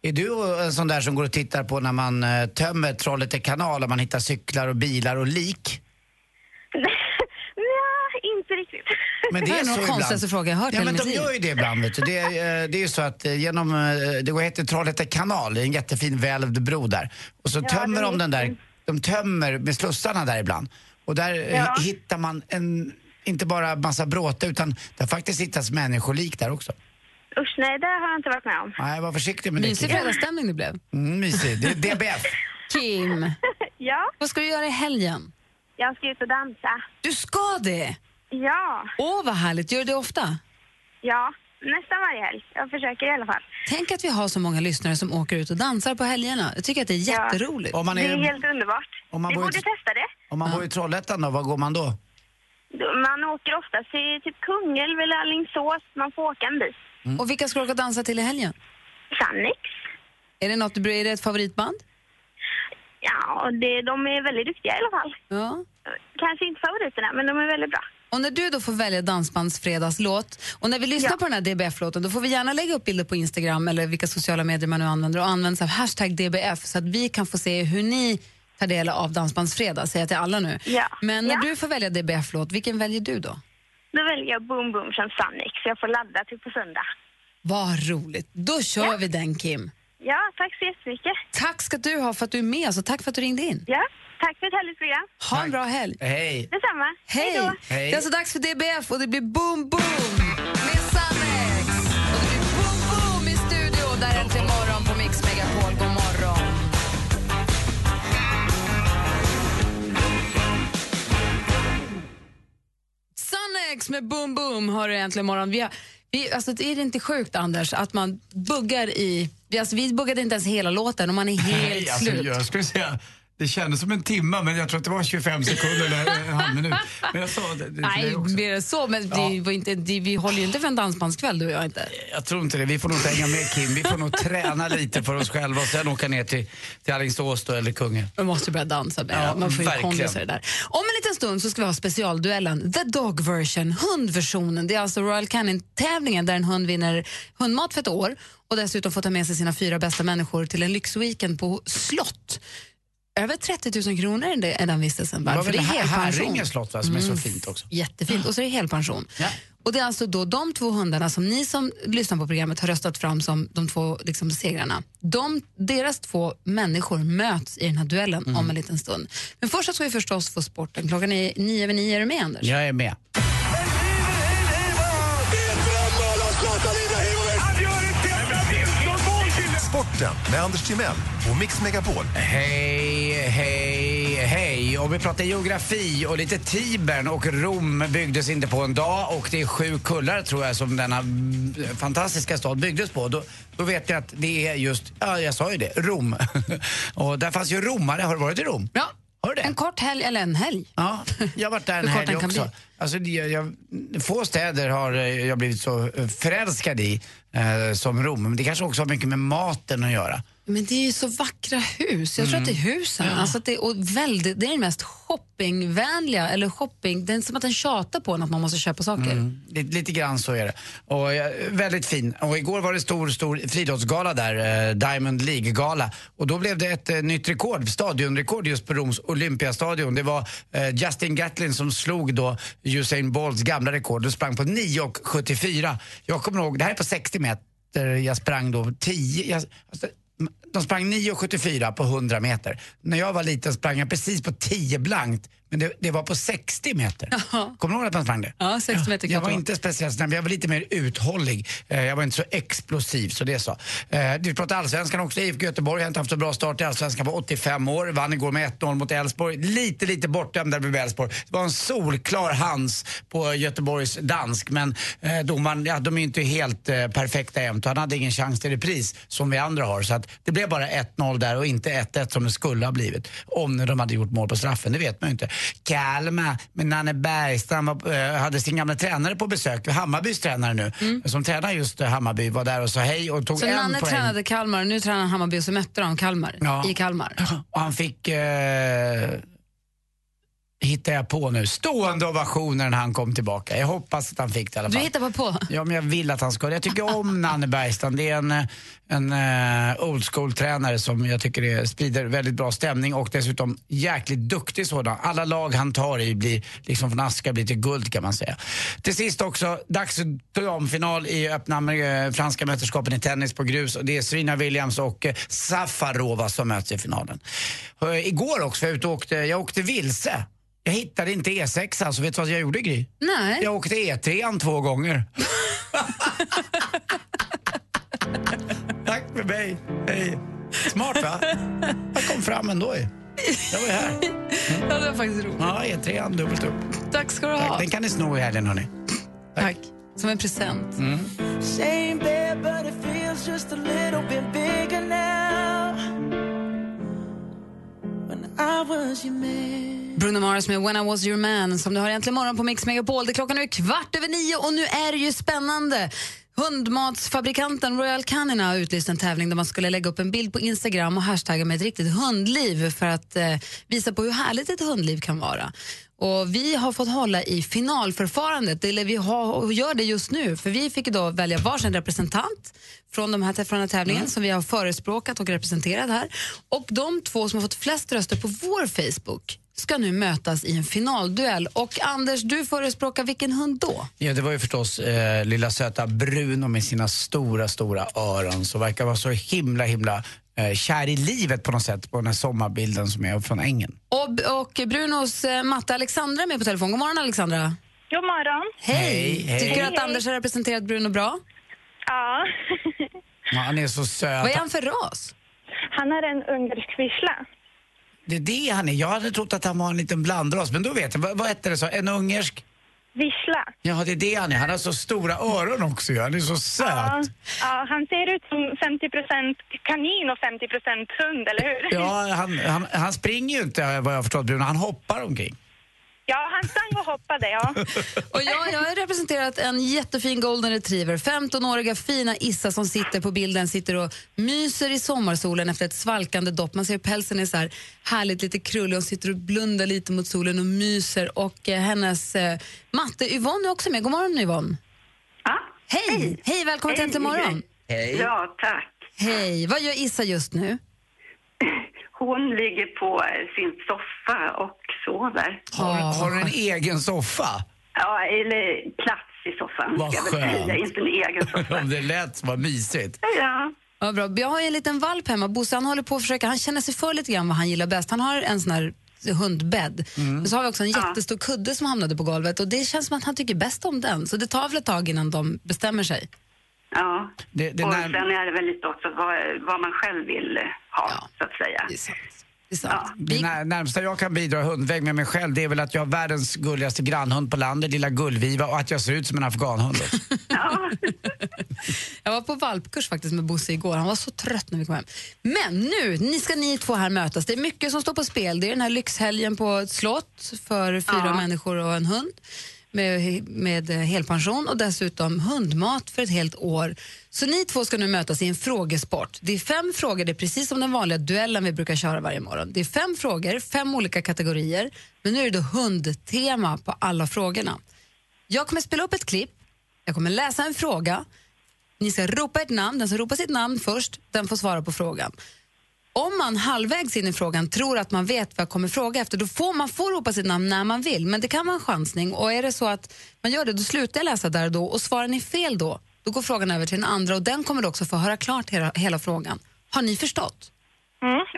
S19: 20.
S4: Är du en sån där som går och tittar på när man eh, tömmer Trollhätte kanal och man hittar cyklar och bilar
S19: *laughs*
S4: och lik?
S19: Nej, inte riktigt.
S4: Men det är så ibland. ja, men de gör ju det ibland. Vet du. Det, är, eh, det är ju så att eh, genom, eh, det går- heter Trollhätte kanal, det är en jättefin välvd bro där. Och så
S19: Ja,
S4: tömmer
S19: den
S4: de
S19: är
S4: den där,
S19: fin.
S4: de tömmer med slussarna där ibland. Och där eh,
S19: Ja.
S4: hittar man en, inte bara massa bråte utan det har faktiskt hittats människolik där också.
S19: Usch, nej, det har jag inte varit med om.
S4: Nej, var försiktig med det.
S3: Mysig
S4: Kim.
S3: fredagsstämning det blev.
S4: Mm, mysig. Det är DBF.
S3: Kim,
S19: *laughs* Ja,
S3: vad ska du göra i helgen?
S19: jag ska ut och dansa.
S3: Du ska det!
S19: Ja,
S3: Åh, vad härligt. Gör du det ofta?
S19: ja. Nästan varje helg. Jag försöker i alla fall.
S3: Tänk att vi har så många lyssnare som åker ut och dansar på helgerna. Jag tycker att det är
S19: Ja.
S3: jätteroligt.
S4: Om man
S19: Det är
S4: är,
S19: helt underbart.
S4: om man
S19: Ni
S4: bor i-
S19: borde testa det.
S4: om man bor i Trollhättan då, var går man då?
S19: Man åker oftast till typ Kungälv eller Alingsås. Man får åka en bit.
S3: Och vilka ska du åka och dansa till i helgen?
S19: Sannik.
S3: Är det, något, du- är det ett favoritband?
S19: Ja, det, de är väldigt duktiga i alla fall.
S3: Ja.
S19: Kanske inte favoriterna, men de är väldigt bra.
S3: Och när du då får välja dansbandsfredagslåt och när vi lyssnar på den här DBF-låten då får vi gärna lägga upp bilder på Instagram eller vilka sociala medier man nu använder och använda sig av hashtag DBF så att vi kan få se hur ni tar del av Dansbandsfredag, säger jag till alla nu. Men när du får välja DBF-låt, vilken väljer du då?
S19: Då väljer jag Boom Boom från Sannik, så jag får ladda till på söndag.
S3: Vad roligt, då kör vi den Kim.
S19: Ja, tack så jättemycket.
S3: Tack ska du ha för att du är med oss och tack för att du ringde in.
S19: Ja, tack för ett härligt program.
S3: Ha en bra helg.
S4: Hej.
S19: Detsamma.
S3: Hej!
S19: då.
S3: Det är alltså dags för DBF och det blir boom, boom med Sannex. Och det blir boom, boom i studio där äntligen morgon på Mix Megapol. God morgon! Sannex med boom, boom hör du äntligen morgon. Vi har, vi, alltså, det är det inte sjukt, Anders, att man buggar i... Vi, alltså, vi buggade inte ens hela låten och man är helt
S4: Nej, alltså,
S3: slut.
S4: jag skulle säga, det kändes som en timme, men jag tror att det var 25 sekunder eller en halv minut. Men jag sa det, det till dig
S3: Nej,
S4: också.
S3: mer än så. Men det var inte, det, vi håller ju inte för en dansbandskväll, du och jag inte.
S4: Jag tror inte det. Vi får nog inte hänga med Kim. Vi får nog träna lite för oss själva och sen åka ner till, till Alingsås då, eller Kungen.
S3: Man måste börja dansa mer.
S4: Ja,
S3: man får ju
S4: verkligen.
S3: kondis i det där. Om en liten stund så ska vi ha specialduellen, the dog version, hundversionen. Det är alltså Royal Canin-tävlingen där en hund vinner hundmat för ett år och dessutom får ta med sig sina fyra bästa människor till en lyxweekend på slott. Över 30 000 kronor är det- är den vistelsen
S4: Det
S3: värd.
S4: var
S3: för
S4: väl
S3: Det är
S4: Här-
S3: helpension.
S4: Häringe slott va, som är så
S3: Mm,
S4: fint också.
S3: Jättefint. Och så är det helpension. Och det är alltså då de två hundarna som ni som lyssnar på programmet har röstat fram som de två liksom, segrarna. De, deras två människor möts i den här duellen
S4: Mm.
S3: om en liten stund. Men först så ska vi förstås få sporten. Klockan är nio över nio. Är du med Anders?
S4: Jag är med.
S10: Sporten med Anders Timell och Mix Megapol.
S4: Hej, hej, hej. Och vi pratar geografi och lite Tibern och Rom byggdes inte på en dag och det är sju kullar tror jag som denna mm, fantastiska stad byggdes på. Då, då vet jag att det är just, ja jag sa ju det, Rom. *laughs* och där fanns ju romare. Har du varit i Rom?
S3: Ja.
S4: Har du det?
S3: En kort helg, eller en helg.
S4: Ja, jag har varit där en
S3: Hur kort
S4: helg
S3: den kan
S4: också.
S3: bli.
S4: Alltså, det- jag, jag, få städer har eh, jag blivit så eh, förälskad i eh, som Rom. Men det kanske också har mycket med maten att göra.
S3: Men det är ju så vackra hus. Jag tror
S4: Mm.
S3: att det är husen. Alltså att det, är, och väldigt, det är den mest shoppingvänliga, eller shopping, det är som att den tjatar på en att man måste köpa saker.
S4: Mm, lite, lite grann så är det. Och, eh, väldigt fin. Och igår var det stor, stor friidrottsgala där, eh, Diamond League-gala. Och då blev det ett eh, nytt rekord, stadionrekord just på Roms Olympiastadion. Det var eh, Justin Gatlin som slog då Usain Bolts gamla rekord. Du sprang på 9,74. Jag kommer ihåg, det här är på 60 meter, jag sprang då 10, jag, alltså, De sprang 9,74 på 100 meter. När jag var liten sprang jag precis på 10 blankt, men det, det var på 60 meter. Kommer du ihåg att man sprang det?
S3: Ja, 60 meter
S4: Jag var
S3: knappt.
S4: inte speciellt snabb, jag var lite mer uthållig. Eh, Jag var inte så explosiv, så det så. Eh, Du pratar allsvenskan också, IFK Göteborg har inte haft så bra start i allsvenskan, var 85 år, vann igår med 1-0 mot Elfsborg. Lite, lite bortdömd där med Elfsborg. Det var en solklar hands på Göteborgs dansk, men eh, domaren, ja, de är ju inte helt eh, perfekta jämt och han hade ingen chans till repris som vi andra har. Så att det blev bara 1-0 där och inte 1-1 som det skulle ha blivit. Om de hade gjort mål på straffen, det vet man ju inte. Kalmar med Nanne Bergström var, eh, hade sin gamla tränare på besök, Hammarbys tränare nu, som tränar just eh, Hammarby, var där och sa hej och tog
S3: Mm. Så
S4: en
S3: Nanne
S4: poäng.
S3: tränade Kalmar och nu tränar han Hammarby och så mötte de Kalmar i Kalmar.
S4: Och han fick, eh, hittar jag på nu, stående ovationer när han kom tillbaka. Jag hoppas att han fick det i alla
S3: Du
S4: fall.
S3: hittar bara på.
S4: *laughs* Ja, men jag vill att han ska. Jag tycker om Nanne Bergstrand. Det är en, eh, en eh, old school-tränare som jag tycker är, sprider väldigt bra stämning och dessutom jäkligt duktig sådan. Alla lag han tar i blir liksom från aska blir till guld kan man säga. Till sist också, dags för damfinal i öppna eh, franska mästerskapen i tennis på grus. Och det är Serena Williams och eh, Safarova som möts i finalen. Eh, Igår också, jag, var ute och åkte, jag åkte vilse. Jag hittade inte E6, alltså vet du vad jag gjorde Gry?
S3: Nej.
S4: Jag åkte E3 två gånger. Tack för mig. Hej. Smart va? Jag kom fram ändå ju. Jag var ju här.
S3: Ja, det var faktiskt roligt.
S4: Ja, E3 dubbelt upp.
S3: Tack ska du
S4: Tack.
S3: ha.
S4: Den kan ni sno i helgen hörni.
S3: Tack. Som en present.
S4: Mm.
S20: Same bed, but it feels just a little bit bigger now. When I was your man.
S3: Bruno Mars med When I was your man som du har egentligen morgon på Mix Megapol. Det är klockan är kvart över nio och nu är det ju spännande. Hundmatsfabrikanten Royal Canin har utlyst en tävling där man skulle lägga upp en bild på Instagram och hashtagga med ett riktigt hundliv för att eh, visa på hur härligt ett hundliv kan vara. Och vi har fått hålla i finalförfarandet, eller vi har, och gör det just nu, för vi fick idag välja varsin representant från, de här, från den här tävlingen som vi har förespråkat och representerat här. Och de två som har fått flest röster på vår Facebook ska nu mötas i en finalduell. Och Anders, du förespråkar vilken hund då?
S4: Ja, det var ju förstås eh, lilla söta Bruno med sina stora, stora öron som verkar vara så himla, himla eh, kär i livet på något sätt på den här sommarbilden som är från ängen.
S3: Och, och Brunos eh, matte Alexandra är med på telefon. God morgon Alexandra.
S19: God morgon.
S3: Hej.
S4: Hej, hej.
S3: Tycker du
S4: Hej,
S3: att
S4: hej.
S3: Anders har representerat Bruno bra?
S19: Ja. *laughs*
S4: Ja, Han är så söt.
S3: Vad är han för ras?
S19: Han är en ungersk vissla.
S4: Det är det han är. Jag hade trott att han var en liten blandras, men då vet jag. Vad, vad hette det så? En ungersk?
S19: Vissla.
S4: Ja, det är det han är. Han har så stora öron också ju. Han är så söt.
S19: Ja, ja, han ser ut som 50 kanin och 50 hund, eller hur?
S4: Ja, han, han, han springer ju inte vad jag har förstått Bruno. Han hoppar omkring.
S19: *laughs* Ja, han sprang och hoppade, ja.
S3: Och jag, jag har representerat en jättefin golden retriever. 15-åriga fina Issa som sitter på bilden sitter och myser i sommarsolen efter ett svalkande dopp. Man ser hur pälsen är så här härligt lite krullig. Hon sitter och blundar lite mot solen och myser. Och eh, hennes eh, matte Yvonne är också med. God morgon Yvonne. Hej. Hej! välkommen till Äntligen morgon.
S21: Ja, tack.
S3: Hej! Vad gör Issa just nu?
S21: Hon ligger på eh, sin soffa och sover.
S4: Har, har hon en egen soffa? *laughs*
S21: Ja, eller plats i soffan
S4: Vad
S21: ska jag väl säga,
S4: skönt.
S21: inte en
S4: *laughs*
S21: egen soffa.
S4: Om det lät så, vad mysigt.
S21: Ja.
S3: Ja, bra. Jag har ju en liten valp hemma. Bosse han håller på att försöka, han känner sig för lite grann vad han gillar bäst. Han har en sån här hundbädd.
S21: Mm.
S3: Och så har vi också en jättestor kudde som hamnade på golvet och det känns som att han tycker bäst om den. Så det tar väl ett tag innan de bestämmer sig.
S21: ja.
S4: Det,
S3: det
S21: och
S3: när-
S21: sen är det väl lite också vad, vad man själv vill eh, ha, så att säga. *laughs*
S3: Det, är sant.
S4: Det när, närmsta jag kan bidra hundväg med mig själv det är väl att jag har världens gulligaste grannhund på landet, lilla Gullviva, och att jag ser ut som en
S3: *laughs*
S4: afghanhund. också.
S3: Jag var på valpkurs faktiskt med Bosse igår. Han var så trött när vi kom hem. Men nu ni ska ni två här mötas. Det är mycket som står på spel. Det är den här lyxhelgen på ett slott för fyra människor och en hund med, med eh, helpension och dessutom hundmat för ett helt år. Så ni två ska nu mötas i en frågesport. Det är fem frågor, det är precis som den vanliga duellen vi brukar köra varje morgon. Det är fem frågor, fem olika kategorier, men nu är det då hundtema på alla frågorna. Jag kommer spela upp ett klipp, jag kommer läsa en fråga, ni ska ropa ett namn, den som ropar sitt namn först, den får svara på frågan. Om man halvvägs in i frågan tror att man vet vad jag kommer fråga efter, då får man får ropa sitt namn när man vill, men det kan vara en chansning. Och är det så att man gör det, då slutar jag läsa där och då och svarar ni fel då, då går frågan över till den andra och den kommer då också få höra klart hela, hela frågan. Har ni förstått?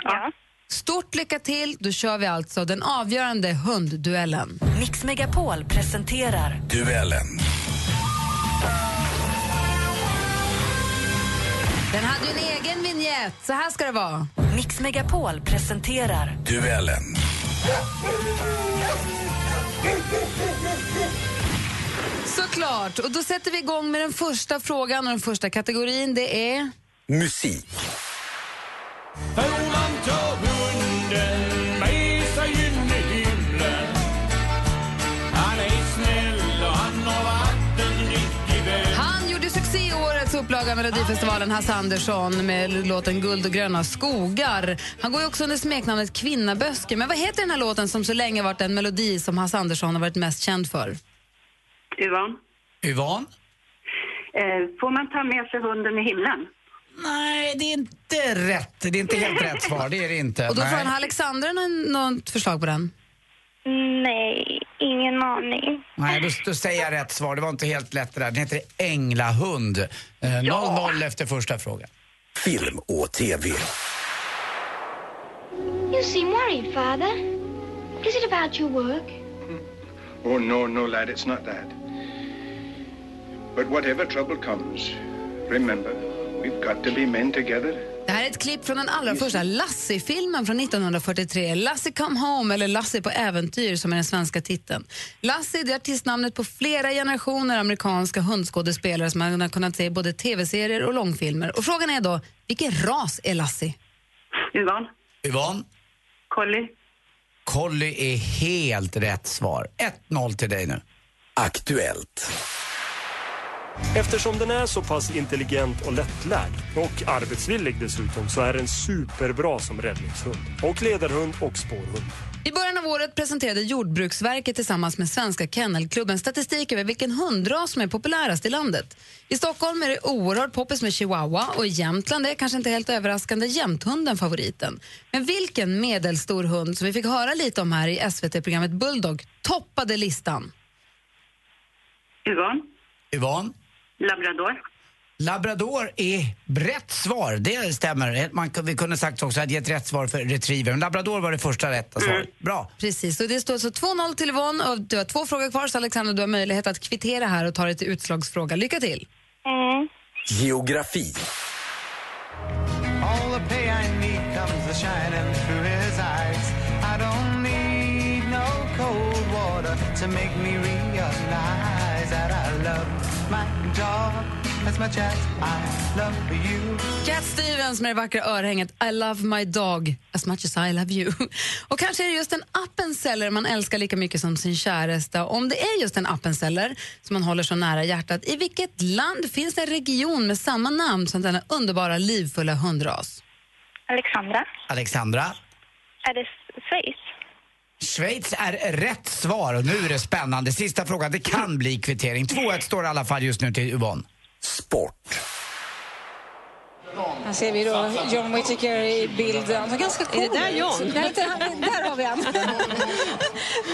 S19: ja.
S3: Stort lycka till. Då kör vi alltså den avgörande hundduellen.
S2: Mix Megapol presenterar
S22: Duellen.
S3: Den hade ju en egen vignett. Så här ska det vara.
S2: Mix Megapol presenterar
S22: Duellen.
S3: Såklart. Och då sätter vi igång med den första frågan och den första kategorin. Det är...
S22: Musik.
S15: Man tar hunden med sig in i himlen Han är snäll och han har varit en riktig vän
S3: Han gjorde succé i årets upplaga av Melodifestivalen, Hasse Andersson, med låten Guld och gröna skogar. Han går ju också under smeknamnet Kvinnaböske. Men vad heter den här låten som så länge varit den melodi som Hasse Andersson har varit mest känd för?
S21: Yvonne,
S4: Yvonne?
S21: eh, får man ta med sig hunden i himlen?
S4: Nej, det är inte rätt. Det är inte helt rätt svar, det är det
S3: *laughs*
S4: inte.
S3: Och då får
S4: Nej.
S3: han Alexandra någon, något förslag på den.
S19: Nej, ingen aning.
S4: Nej, då, då säger jag rätt svar. Det var inte helt lätt det där. Den heter Änglahund. Eh, 0-0 efter första frågan.
S22: Film och TV.
S17: You seem worried, Father. Is it about your work?
S6: Oh, no, no, lad, it's not that. But whatever trouble comes, remember, we've got to be men together.
S3: Det här är ett klipp från den allra första Lassie-filmen från 1943. Lassie Come Home, eller Lassie på äventyr, som är den svenska titeln. Lassie det är artistnamnet på flera generationer amerikanska hundskådespelare som man har kunnat se i både tv-serier och långfilmer. Och frågan är då, vilken ras är Lassie?
S21: Yvonne,
S4: Yvonne?
S21: Collie.
S4: Collie är helt rätt svar. 1-0 till dig nu.
S22: Aktuellt.
S23: Eftersom den är så pass intelligent och lättlärd och arbetsvillig dessutom så är den superbra som räddningshund och ledarhund och spårhund.
S3: I början av året presenterade Jordbruksverket tillsammans med Svenska Kennelklubben statistik över vilken hundras som är populärast i landet. I Stockholm är det oerhört poppis med chihuahua och i Jämtland är, kanske inte helt överraskande, jämthunden favoriten. Men vilken medelstor hund, som vi fick höra lite om här i SVT-programmet Bulldog, toppade listan?
S21: Yvonne,
S4: Yvonne?
S21: labrador.
S4: Labrador är rätt svar, det stämmer. Man, vi kunde sagt också att gett rätt svar för retriever, men labrador var det första rätta
S19: Mm.
S4: svaret. Bra.
S3: Precis, och det står så 2-0 till Yvonne och du har två frågor kvar så Alexander du har möjlighet att kvittera här och ta dig till utslagsfråga. Lycka till!
S22: Geografi.
S15: All the pay I need comes a shining through his eyes. I don't need no cold water to make me realize that I love my dog as much as I love you.
S3: Cat Stevens med det vackra örhänget I love my dog as much as I love you. *laughs* Och kanske är det just en appenzeller man älskar lika mycket som sin käresta. Om det är just en appenzeller som man håller så nära hjärtat, i vilket land finns det en region med samma namn som denna underbara livfulla hundras?
S19: Alexandra,
S4: Alexandra?
S19: är det S- Schweiz?
S4: Schweiz är rätt svar och nu är det spännande. Sista frågan, det kan bli kvittering. 2-1 står det i alla fall just nu till Yvonne. Sport.
S24: Här ser vi då John Whittaker i bild. Han var ganska cool.
S25: Är det där John?
S24: Nej, inte, han, där har vi
S3: *laughs*
S24: han.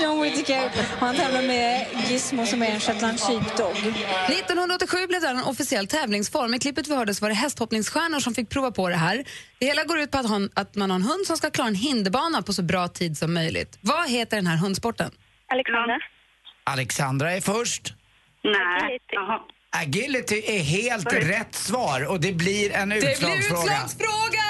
S24: John Whittaker. Och han tävlar med Gizmo som är en shetland sheepdog.
S3: 1987 blev det här en officiell tävlingsform. I klippet vi hörde så var det hästhoppningsstjärnor som fick prova på det här. Det hela går ut på att, ha en, att man har en hund som ska klara en hinderbana på så bra tid som möjligt. Vad heter den här hundsporten?
S19: Alexandra?
S4: Alexandra är först.
S21: Nej, jaha.
S4: Agility är helt rätt svar och det blir en utslagsfråga.
S3: utslagsfråga!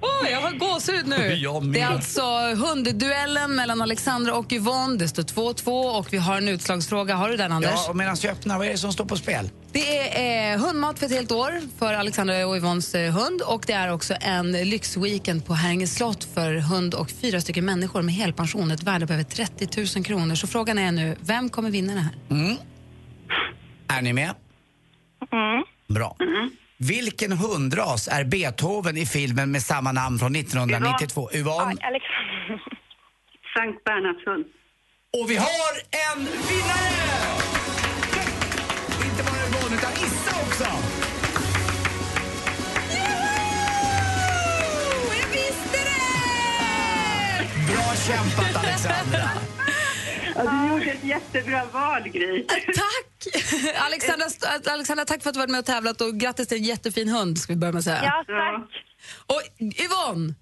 S3: Åh, jag har gåshud nu.
S4: *laughs* Jag med.
S3: Det är alltså hundduellen mellan Alexandra och Yvonne. Det står 2-2 och vi har en utslagsfråga. Har du den, Anders?
S4: Ja, och medan vi öppnar, vad är det som står på spel?
S3: Det är eh, hundmat för ett helt år för Alexandra och Yvonnes eh, hund och det är också en lyxweekend på Häringe slott för hund och fyra stycken människor med helpension, ett värde på över 30 000 kronor. Så frågan är nu, vem kommer vinna det här?
S4: Mm. Är ni med?
S8: Mm.
S4: Bra. Vilken hundras är Beethoven i filmen med samma namn från 1992? Yvonne?
S21: Alexandra. Sankt Bernhards hund.
S4: Och vi har en vinnare! Inte bara Yvonne, utan Issa också! Bra kämpat, Alexandra!
S8: Ja, du gjorde ett jättebra val, Gry.
S3: Tack! Alexandra, st- Alexandra, tack för att du varit med och tävlat och grattis till en jättefin hund ska vi börja med att säga.
S19: Ja, tack.
S3: Och Yvonne!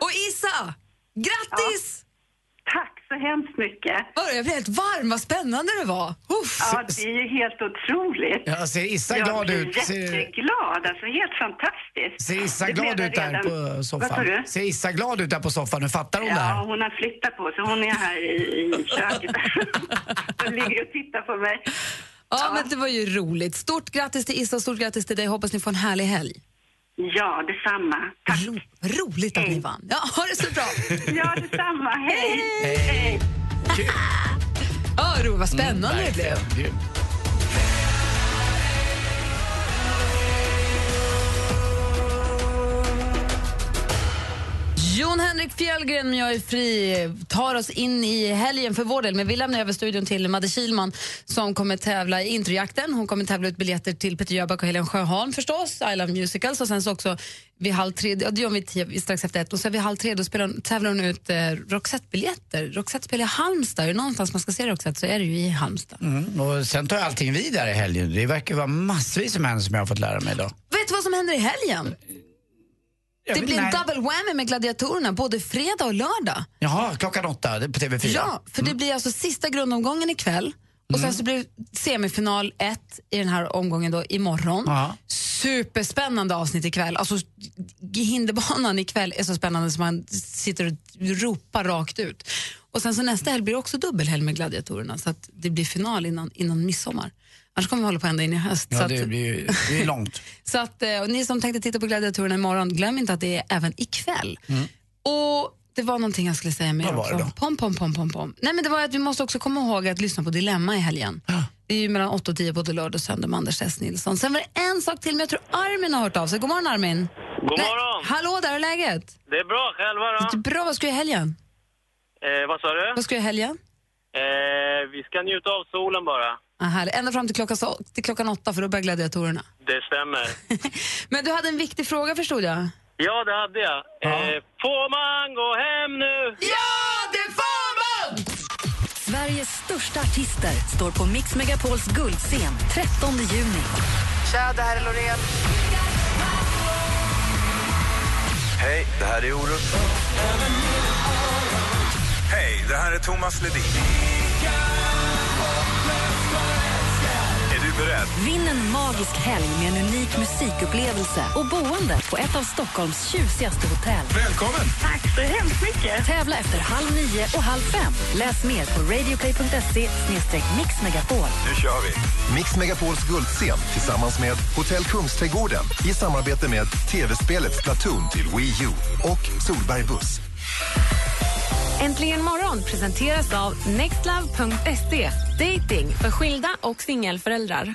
S3: Och Isa! Grattis!
S8: Tack så hemskt mycket.
S3: Jag blev helt varm, vad spännande det var. Uff.
S8: Ja, det är ju helt otroligt.
S4: Ja, ser Issa
S8: jag
S4: glad
S8: blir
S4: ut? Ser-
S8: jätteglad. Alltså, helt fantastiskt.
S4: Ser Issa
S8: Det blev
S4: glad
S8: jag
S4: ut där
S8: redan-
S4: på eh,
S8: Vad sa
S4: soffan?
S8: du?
S4: Ser Issa glad ut där på soffan? Nu fattar hon det
S8: Ja,
S4: här.
S8: hon har flyttat på sig. Hon är här i, i
S4: *laughs*
S8: köket. hon ligger och tittar på mig.
S3: Ja, men det var ju roligt. Stort grattis till Issa och stort grattis till dig. Hoppas ni får en härlig helg.
S8: Ja, detsamma. Tack. Mm.
S3: roligt att ni vann. Ja, ha det så bra.
S8: ja, detsamma. Hej!
S4: Hej!
S3: Ja, ro, vad spännande
S8: Mm,
S3: det blev. Jon Henrik Fjällgren med Jag är fri tar oss in i helgen för vår del. Men vi lämnar över studion till Madde Kilman som kommer tävla i introjakten. Hon kommer tävla ut biljetter till Peter Jöback och Helen Sjöholm förstås, I Love Musicals och sen så också vid halv tre, ja, det gör vi tio, strax efter ett och sen vid halv tre då spelar hon, tävlar hon ut eh, Roxette-biljetter. Roxette spelar i Halmstad, är det någonstans man ska se Roxette så är det ju i Halmstad.
S4: Mm, och sen tar allting vidare i helgen. Det verkar vara massvis som händer som jag har fått lära mig idag.
S3: Vet du vad som händer i helgen? Det blir en double whammy med gladiatorerna både fredag och lördag.
S4: Jaha, klockan åtta det är på TV4.
S3: Ja, för
S4: Mm.
S3: det blir alltså sista grundomgången ikväll och sen så blir det semifinal 1 i den här omgången då imorgon.
S4: Ja.
S3: Superspännande avsnitt ikväll. Alltså g- hinderbanan ikväll är så spännande så man sitter och ropar rakt ut. Och sen så nästa helg blir det också dubbelhelg med gladiatorerna så att det blir final innan, innan midsommar. Annars kommer vi hålla på ända in i höst. så
S4: Ja,
S3: att,
S4: det blir ju det
S20: *laughs*
S4: är långt.
S3: så att, eh, och ni som tänkte titta på gladiatorerna imorgon, glöm inte att det är även ikväll. Och det var någonting jag skulle säga med
S4: Mm. Vad var det
S3: också.
S4: då?
S3: Pom, pom, pom, pom, pom. Nej, men det var att vi måste också komma ihåg att lyssna på Dilemma i helgen. Det är ju mellan 8 och 10 både lördag och söndag med Anders S. Nilsson. Sen var det en sak till, men jag tror Armin har hört av sig. God morgon Armin.
S1: God morgon.
S3: Nej, hallå där, hur är läget?
S1: Det är bra, själva då?
S3: Bra, vad ska du i helgen?
S1: Eh, vad sa du?
S3: Vad ska du i helgen?
S1: Eh, vi ska njuta av solen bara.
S3: Ah, härligt. Ända fram till klockan, så- till klockan åtta, för då börjar gladiatorerna. *laughs*
S1: Det stämmer.
S3: Men du hade en viktig fråga förstod jag.
S1: Ja, det hade jag. Eh, får man gå hem nu?
S3: Ja, det får man!
S2: Sveriges största artister står på Mix Megapols guldscen 13 juni.
S20: Tja, det här är Loreen.
S9: Hej, det här är Orup. Hej, det här är Thomas Ledin. Är du beredd?
S2: Vinn en magisk helg med en unik musikupplevelse och boende på ett av Stockholms tjusigaste hotell.
S9: Välkommen!
S2: Tack så hemskt mycket! Tävla efter halv nio och halv fem. Läs mer på radioplay.se mixmegapol.
S10: Nu kör vi! Mix Megapols guldscen tillsammans med Hotell Kungsträdgården i samarbete med tv-spelet Splatoon till Wii U och Solberg Buss.
S11: Äntligen morgon presenteras av nextlove.se. Dating för skilda och singelföräldrar.